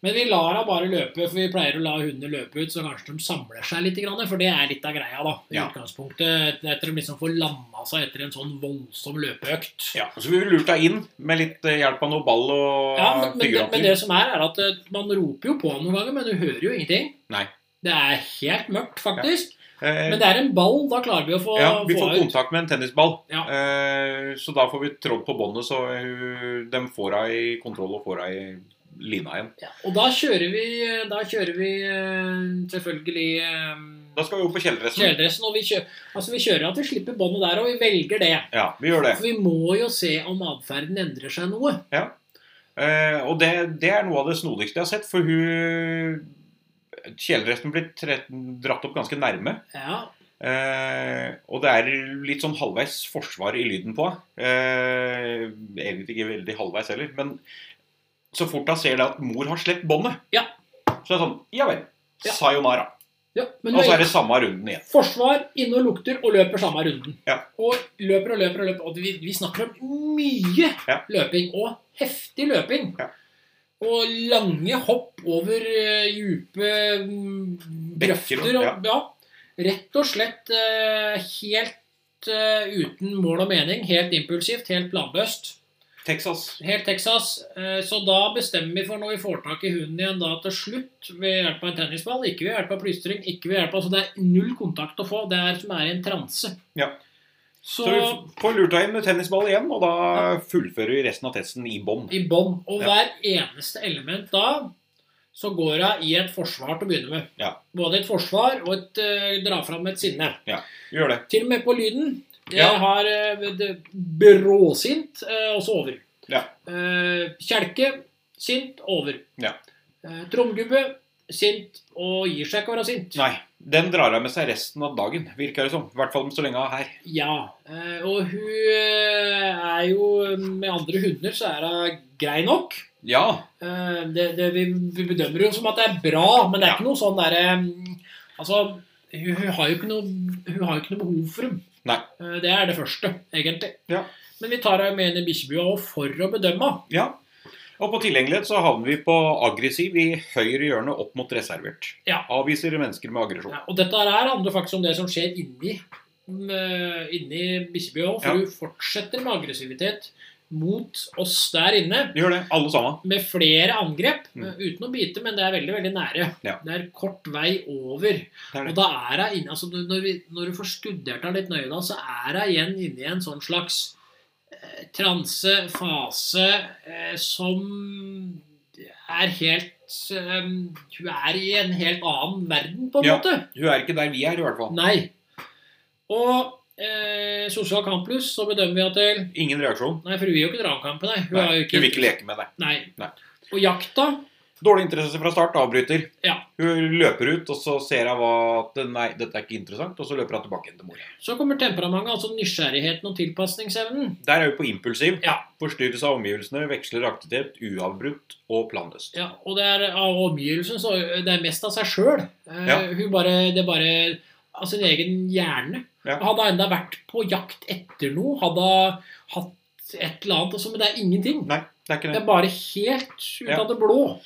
[SPEAKER 1] Men vi lar henne bare løpe, for vi pleier å la hundene løpe ut, så kanskje de samler seg litt. grann, For det er litt av greia, da. I
[SPEAKER 2] Ja.
[SPEAKER 1] utgangspunktet, etter de liksom får landa seg etter en sånn voldsom løpeøkt.
[SPEAKER 2] Ja, Så vi lurte henne inn med litt eh, hjelp av noe ball og
[SPEAKER 1] Ja, men, men, det, men
[SPEAKER 2] figuranter.
[SPEAKER 1] det som er, er at eh, man roper jo på ham noen ganger, men du hører jo ingenting.
[SPEAKER 2] Nei.
[SPEAKER 1] Det er helt mørkt, faktisk.
[SPEAKER 2] Eh,
[SPEAKER 1] Men det er en ball, da klarer vi å få,
[SPEAKER 2] ja, vi
[SPEAKER 1] få
[SPEAKER 2] får
[SPEAKER 1] ut.
[SPEAKER 2] kontakt med en tennisball,
[SPEAKER 1] Ja.
[SPEAKER 2] eh, så da får vi trådd på båndet, så hun, de får henne i kontroll og får henne i lina igjen.
[SPEAKER 1] Ja, og da kjører vi, da kjører vi eh, selvfølgelig eh,
[SPEAKER 2] Da skal vi opp på kjeledressen.
[SPEAKER 1] kjeledressen. Og vi kjører, altså vi kjører at vi slipper båndet der, og vi velger det.
[SPEAKER 2] Ja, vi gjør det.
[SPEAKER 1] For vi må jo se om atferden endrer seg noe.
[SPEAKER 2] Eh, og det, det er noe av det snodigste jeg har sett, for hun Kjeledressen blir tre- dratt opp ganske nærme.
[SPEAKER 1] Ja,
[SPEAKER 2] Eh, og det er litt sånn halvveis forsvar i lyden på henne. Eh, egentlig ikke veldig halvveis heller, men så fort hun ser det at mor har slept båndet,
[SPEAKER 1] Ja.
[SPEAKER 2] så er det sånn Ja vel.
[SPEAKER 1] Ja.
[SPEAKER 2] Sayonara.
[SPEAKER 1] ja men
[SPEAKER 2] Og så er
[SPEAKER 1] vi,
[SPEAKER 2] det samme runden igjen.
[SPEAKER 1] forsvar, inne og lukter, og løper samme runden.
[SPEAKER 2] Ja.
[SPEAKER 1] Og løper og løper og løper. Og vi, vi snakker om mye
[SPEAKER 2] Ja.
[SPEAKER 1] løping, og heftig løping.
[SPEAKER 2] Ja.
[SPEAKER 1] Og lange hopp over uh, djupe mm,
[SPEAKER 2] Bekker og-
[SPEAKER 1] grøfter. Og, ja. Rett og slett eh, helt eh, uten mål og mening. Helt impulsivt, helt planløst.
[SPEAKER 2] Texas.
[SPEAKER 1] Helt Texas. Eh, så da bestemmer vi for når vi får tak i hunden igjen da til slutt ved hjelp av en tennisball. Ikke ved hjelp av plystring. ikke ved hjelp av, så Det er null kontakt å få. Det er som er i en transe.
[SPEAKER 2] Ja.
[SPEAKER 1] Så,
[SPEAKER 2] Så vi får lurt deg inn med tennisball igjen, og da fullfører vi resten av testen i bånn.
[SPEAKER 1] i bånn. Og
[SPEAKER 2] Ja.
[SPEAKER 1] hver eneste element da så går hun i et forsvar til å begynne med.
[SPEAKER 2] Ja.
[SPEAKER 1] Både et forsvar og et eh, dra fram et sinne.
[SPEAKER 2] Gjør det.
[SPEAKER 1] Til og med på lyden. Jeg
[SPEAKER 2] Ja.
[SPEAKER 1] har eh, det- bråsint, eh, og så over.
[SPEAKER 2] Ja.
[SPEAKER 1] Eh, kjelke, sint, over.
[SPEAKER 2] Ja.
[SPEAKER 1] Eh, Tromgubbe, sint og gir seg ikke å være sint.
[SPEAKER 2] Nei. Den drar av med seg resten av dagen, virker det som. I hvert fall så lenge hun er her.
[SPEAKER 1] Ja. eh, Og hun eh, er jo Med andre hunder så er hun grei nok.
[SPEAKER 2] Ja.
[SPEAKER 1] Eh, Det, det, vi, vi bedømmer jo som at det er bra, men det er
[SPEAKER 2] Ja.
[SPEAKER 1] ikke noe sånn derre Altså, hun, hun, har jo ikke noe, hun har jo ikke noe behov for dem.
[SPEAKER 2] Nei.
[SPEAKER 1] Eh, Det er det første, egentlig.
[SPEAKER 2] Ja.
[SPEAKER 1] Men vi tar henne med inn i bikkjebua også for å bedømme.
[SPEAKER 2] ja. Og på tilgjengelighet så havner vi på aggressiv i høyre hjørne opp mot reservert.
[SPEAKER 1] Ja.
[SPEAKER 2] Avviser mennesker med aggresjon.
[SPEAKER 1] Ja, og dette her handler faktisk om det som skjer inni, eh, inni bikkjebua òg, for
[SPEAKER 2] Ja.
[SPEAKER 1] hun fortsetter med aggressivitet mot oss der inne.
[SPEAKER 2] De gjør det, alle sammen.
[SPEAKER 1] med flere angrep,
[SPEAKER 2] Mm.
[SPEAKER 1] eh, uten å bite, men det er veldig veldig nære.
[SPEAKER 2] Ja.
[SPEAKER 1] Det er kort vei over.
[SPEAKER 2] Det er
[SPEAKER 1] Og
[SPEAKER 2] det.
[SPEAKER 1] da er hun inne, altså du- Når, vi, når du får studert henne litt nøye, da, så er hun igjen inne i en sånn slags eh, transe, fase, eh, som er helt eh, Hun er i en helt annen verden, på en
[SPEAKER 2] Ja.
[SPEAKER 1] måte.
[SPEAKER 2] Hun er ikke der vi er, i hvert fall.
[SPEAKER 1] Nei. Og eh, Sosial Campus, så bedømmer vi at det,
[SPEAKER 2] Ingen reaksjon.
[SPEAKER 1] Nei, for hun vil jo ikke dra om kampen, nei. Hun
[SPEAKER 2] Nei,
[SPEAKER 1] har jo
[SPEAKER 2] Hun vil ikke leke med deg.
[SPEAKER 1] Nei.
[SPEAKER 2] Nei.
[SPEAKER 1] Og jakta
[SPEAKER 2] Dårlig interesse fra start, avbryter.
[SPEAKER 1] Ja.
[SPEAKER 2] Hun løper ut, og så ser hun hva- at nei, dette er ikke interessant, og så løper hun tilbake igjen til mora.
[SPEAKER 1] Så kommer temperamentet, altså nysgjerrigheten og tilpasningsevnen.
[SPEAKER 2] Der er hun på impulsiv.
[SPEAKER 1] Ja.
[SPEAKER 2] Forstyrres av omgivelsene, veksler aktivitet, uavbrutt og planløst.
[SPEAKER 1] Ja, og det er av omgivelsen, så det er mest av seg sjøl.
[SPEAKER 2] Ja.
[SPEAKER 1] Hun bare Det er bare av sin egen hjerne.
[SPEAKER 2] Ja.
[SPEAKER 1] Hadde hun enda vært på jakt etter noe, hadde hun hatt et eller annet, altså, men det er ingenting.
[SPEAKER 2] Nei, det er ikke
[SPEAKER 1] Det
[SPEAKER 2] det.
[SPEAKER 1] er bare helt ut
[SPEAKER 2] Ja.
[SPEAKER 1] av det blå.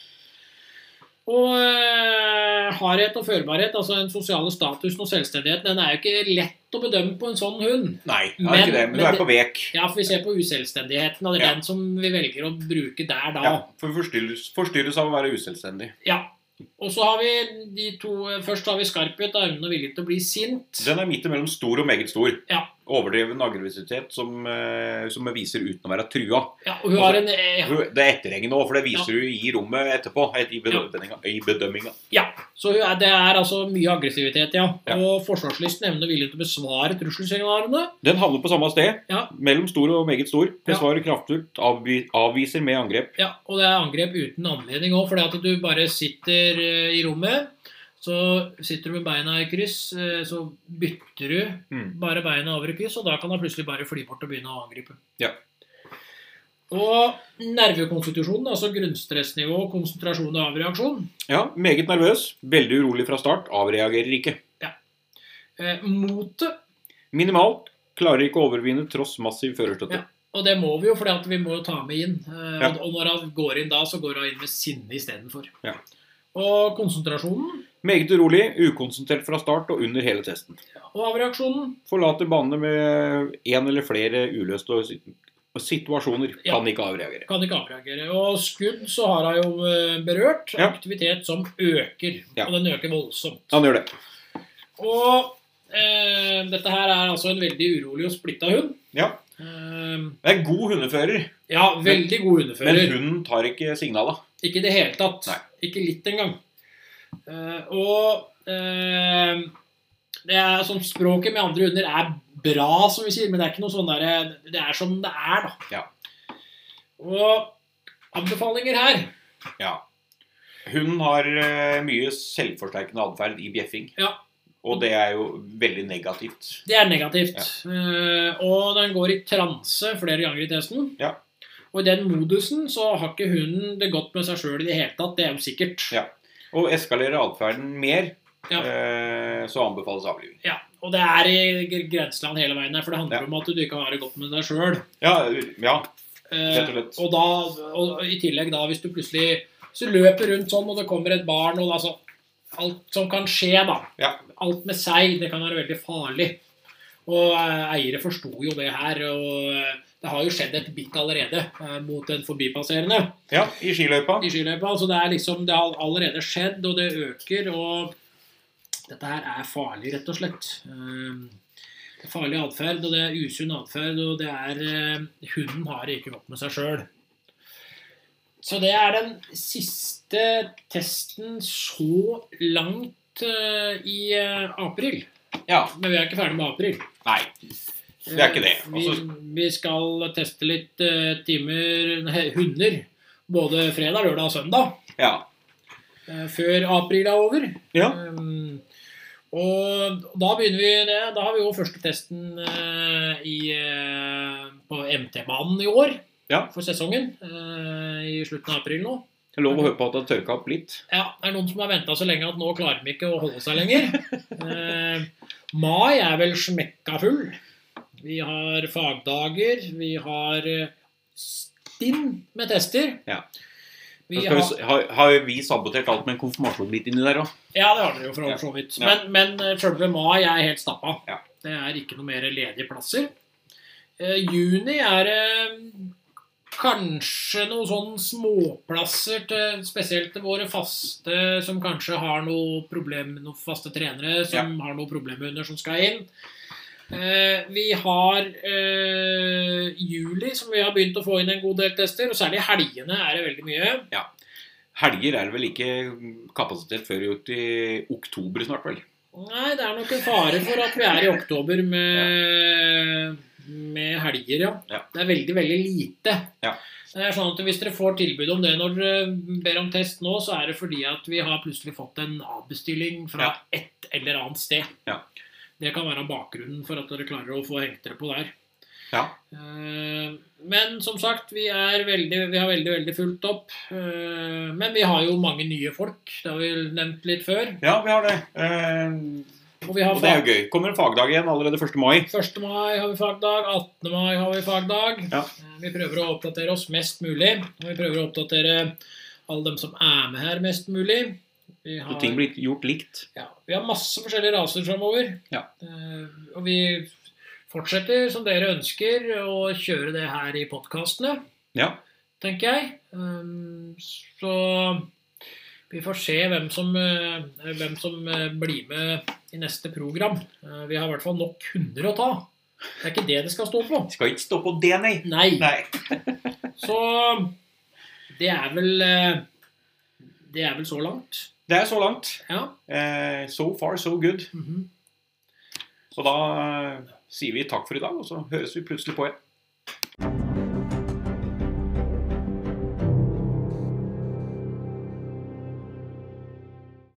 [SPEAKER 1] Og eh, hardhet og førbarhet, altså den sosiale statusen og selvstendigheten, den er jo ikke lett å bedømme på en sånn hund.
[SPEAKER 2] Nei, det er
[SPEAKER 1] Men-
[SPEAKER 2] ikke det, men
[SPEAKER 1] men
[SPEAKER 2] hun er
[SPEAKER 1] det-
[SPEAKER 2] på vek.
[SPEAKER 1] Ja, for vi ser på uselvstendigheten, og det er
[SPEAKER 2] Ja.
[SPEAKER 1] den som vi velger å bruke der da.
[SPEAKER 2] Ja, for hun forstyrres, forstyrres av å være uselvstendig.
[SPEAKER 1] Ja. Og så har vi de to Først har vi skarphet, evnen og vilje til å bli sint.
[SPEAKER 2] Den er midt imellom stor og meget stor.
[SPEAKER 1] Ja.
[SPEAKER 2] Overdreven aggressivitet som, eh, som hun viser uten å være trua.
[SPEAKER 1] Ja, og hun har en eh,
[SPEAKER 2] Hun- Det er etterhengende òg, for det viser hun i rommet etterpå. et- I bedømminga. I bedømminga.
[SPEAKER 1] Ja. Så hun er, det er altså mye aggressivitet, ja.
[SPEAKER 2] Ja.
[SPEAKER 1] Og forsvarslysten, evnen og vilje til å besvare trusselsignalene.
[SPEAKER 2] Den havner på samme sted.
[SPEAKER 1] Ja.
[SPEAKER 2] Mellom stor og meget stor. Besvarer kraftfullt. Avvi avviser med angrep.
[SPEAKER 1] Ja, og det er angrep uten anledning òg, fordi at du bare sitter eh, i rommet. Så sitter du med beina i kryss, eh, så bytter du
[SPEAKER 2] Mm.
[SPEAKER 1] bare beina over i kryss, og da kan han plutselig bare fly bort og begynne å angripe.
[SPEAKER 2] Ja.
[SPEAKER 1] Og nervekonstitusjonen, altså grunnstressnivå, konsentrasjon og avreaksjon.
[SPEAKER 2] Ja, meget nervøs. Veldig urolig fra start. Avreagerer ikke.
[SPEAKER 1] Eh, motet,
[SPEAKER 2] Minimalt. Klarer ikke å overvinne tross massiv førerstøtte.
[SPEAKER 1] Ja. og det må vi jo, for vi må jo ta med inn. Eh,
[SPEAKER 2] Ja.
[SPEAKER 1] og, og når han går inn da, så går han inn med sinne istedenfor.
[SPEAKER 2] Ja.
[SPEAKER 1] Og konsentrasjonen
[SPEAKER 2] Meget urolig, ukonsentrert fra start og under hele testen.
[SPEAKER 1] og avreaksjonen.
[SPEAKER 2] Forlater banene med én eller flere uløste sit- situasjoner.
[SPEAKER 1] Ja.
[SPEAKER 2] Kan ikke avreagere.
[SPEAKER 1] Kan ikke avreagere. Og skudd så har han jo eh, berørt.
[SPEAKER 2] Ja.
[SPEAKER 1] Aktivitet som øker.
[SPEAKER 2] Ja.
[SPEAKER 1] Og den øker voldsomt.
[SPEAKER 2] Han gjør det.
[SPEAKER 1] Og eh, dette her er altså en veldig urolig og splitta hund.
[SPEAKER 2] Ja.
[SPEAKER 1] Eh,
[SPEAKER 2] Det er god hundefører,
[SPEAKER 1] ja, veldig god
[SPEAKER 2] men
[SPEAKER 1] hundefører.
[SPEAKER 2] hunden tar ikke signala.
[SPEAKER 1] Ikke i det hele tatt.
[SPEAKER 2] Nei.
[SPEAKER 1] Ikke litt engang. Eh, og eh, det er sånn Språket med andre hunder er bra, som vi sier, men det er ikke noe sånn derre Det er som det er, da.
[SPEAKER 2] Ja.
[SPEAKER 1] Og anbefalinger her
[SPEAKER 2] Ja. Hun har eh, mye selvforsterkende atferd i bjeffing.
[SPEAKER 1] Ja.
[SPEAKER 2] Og det er jo veldig negativt.
[SPEAKER 1] Det er negativt. Eh, og den går i transe flere ganger i testen.
[SPEAKER 2] Ja.
[SPEAKER 1] Og i den modusen så har ikke hunden det godt med seg sjøl i det hele tatt. Det er jo sikkert.
[SPEAKER 2] Ja. Og eskalerer atferden mer,
[SPEAKER 1] Ja.
[SPEAKER 2] eh, så anbefales avliving.
[SPEAKER 1] Ja, Og det er i gr- grenseland hele veien her, for det handler
[SPEAKER 2] Ja.
[SPEAKER 1] om at du ikke har det godt med deg sjøl.
[SPEAKER 2] Ja, ja,
[SPEAKER 1] Eh,
[SPEAKER 2] Rett og slett.
[SPEAKER 1] og da, og i tillegg da, hvis du plutselig hvis du løper rundt sånn, og det kommer et barn og altså, Alt som kan skje, da.
[SPEAKER 2] ja.
[SPEAKER 1] Alt med seg. Det kan være veldig farlig. Og eh, eiere forsto jo det her. Og eh, det har jo skjedd et bitt allerede eh, mot en forbipasserende
[SPEAKER 2] ja I skiløypa.
[SPEAKER 1] i skiløypa. Så det er liksom Det har allerede skjedd, og det øker, og dette her er farlig, rett og slett. Ehm, Det er farlig atferd, og det er usunn atferd, og det er eh, Hunden har det ikke godt med seg sjøl. Så det er den siste testen så langt eh, i eh, april.
[SPEAKER 2] Ja.
[SPEAKER 1] Men vi er ikke ferdig med april. Eh,
[SPEAKER 2] Nei. Det er ikke det.
[SPEAKER 1] Vi,
[SPEAKER 2] Altså-
[SPEAKER 1] vi skal teste litt eh, timer he- hunder. Både fredag, lørdag og søndag.
[SPEAKER 2] Ja.
[SPEAKER 1] eh, før april er over.
[SPEAKER 2] Ja.
[SPEAKER 1] Um, og da begynner vi det. Da har vi jo første testen eh, i, eh, på MT-banen i år.
[SPEAKER 2] Ja.
[SPEAKER 1] For sesongen. eh, I slutten av april nå.
[SPEAKER 2] Det er lov å høre på at det har tørka opp litt.
[SPEAKER 1] Ja, det er noen som har venta så lenge at nå klarer de ikke å holde seg lenger. Eh, mai er vel smekka full. Vi har fagdager, vi har eh, stinn med tester.
[SPEAKER 2] Ja.
[SPEAKER 1] Vi
[SPEAKER 2] Skal
[SPEAKER 1] har,
[SPEAKER 2] vi, s- har, har vi sabotert alt med en konfirmasjon litt inni der òg?
[SPEAKER 1] ja, det har dere jo for så vidt.
[SPEAKER 2] Ja.
[SPEAKER 1] Men, men eh, selve mai er helt stappa.
[SPEAKER 2] Ja.
[SPEAKER 1] Det er ikke noe mer ledige plasser. Eh, juni er eh, kanskje noen sånn småplasser, til, spesielt til våre faste som kanskje har noe problem, noen faste trenere som har noen problemhunder som skal inn. Eh, vi har eh, juli, som vi har begynt å få inn en god del tester. Og særlig helgene er det veldig mye.
[SPEAKER 2] Helger er det vel ikke kapasitet før ut i oktober snart, vel?
[SPEAKER 1] Nei, det er nok en fare for at vi er i oktober med, med helger, ja.
[SPEAKER 2] Ja.
[SPEAKER 1] Det er veldig, veldig lite.
[SPEAKER 2] Ja.
[SPEAKER 1] Det er sånn at Hvis dere får tilbud om det når dere ber om test nå, så er det fordi at vi har plutselig fått en avbestilling fra
[SPEAKER 2] Ja.
[SPEAKER 1] et eller annet sted.
[SPEAKER 2] Ja.
[SPEAKER 1] Det kan være bakgrunnen for at dere klarer å få hengt dere på der.
[SPEAKER 2] Ja.
[SPEAKER 1] Eh, Men som sagt, vi, er veldig, vi har veldig, veldig fulgt opp. Eh, Men vi har jo mange nye folk. Det har vi nevnt litt før.
[SPEAKER 2] Ja, vi har det. Eh,
[SPEAKER 1] Og vi har
[SPEAKER 2] og det er jo gøy. Kommer en fagdag igjen allerede 1. mai.
[SPEAKER 1] 1. mai har vi fagdag, 18. mai har vi fagdag.
[SPEAKER 2] Ja.
[SPEAKER 1] Eh, Vi prøver å oppdatere oss mest mulig. Og vi prøver å oppdatere alle dem som er med her, mest mulig. Vi
[SPEAKER 2] Så ting blir gjort likt.
[SPEAKER 1] ja, vi har masse forskjellige raser framover.
[SPEAKER 2] Ja.
[SPEAKER 1] Eh, og vi fortsetter som dere ønsker å kjøre det her i podkastene,
[SPEAKER 2] Ja.
[SPEAKER 1] tenker jeg. Um, så vi får se hvem som, eh, hvem som eh, blir med i neste program. Eh, vi har i hvert fall nok hunder å ta. Det er ikke det det skal stå på.
[SPEAKER 2] Skal ikke stå på det, nei.
[SPEAKER 1] Nei.
[SPEAKER 2] Nei.
[SPEAKER 1] Så det er vel eh, Det er vel så langt.
[SPEAKER 2] Det er så langt.
[SPEAKER 1] Ja.
[SPEAKER 2] Eh, so far, so good.
[SPEAKER 1] mhm.
[SPEAKER 2] Så da eh, sier vi takk for i dag, og så høres vi plutselig på igjen.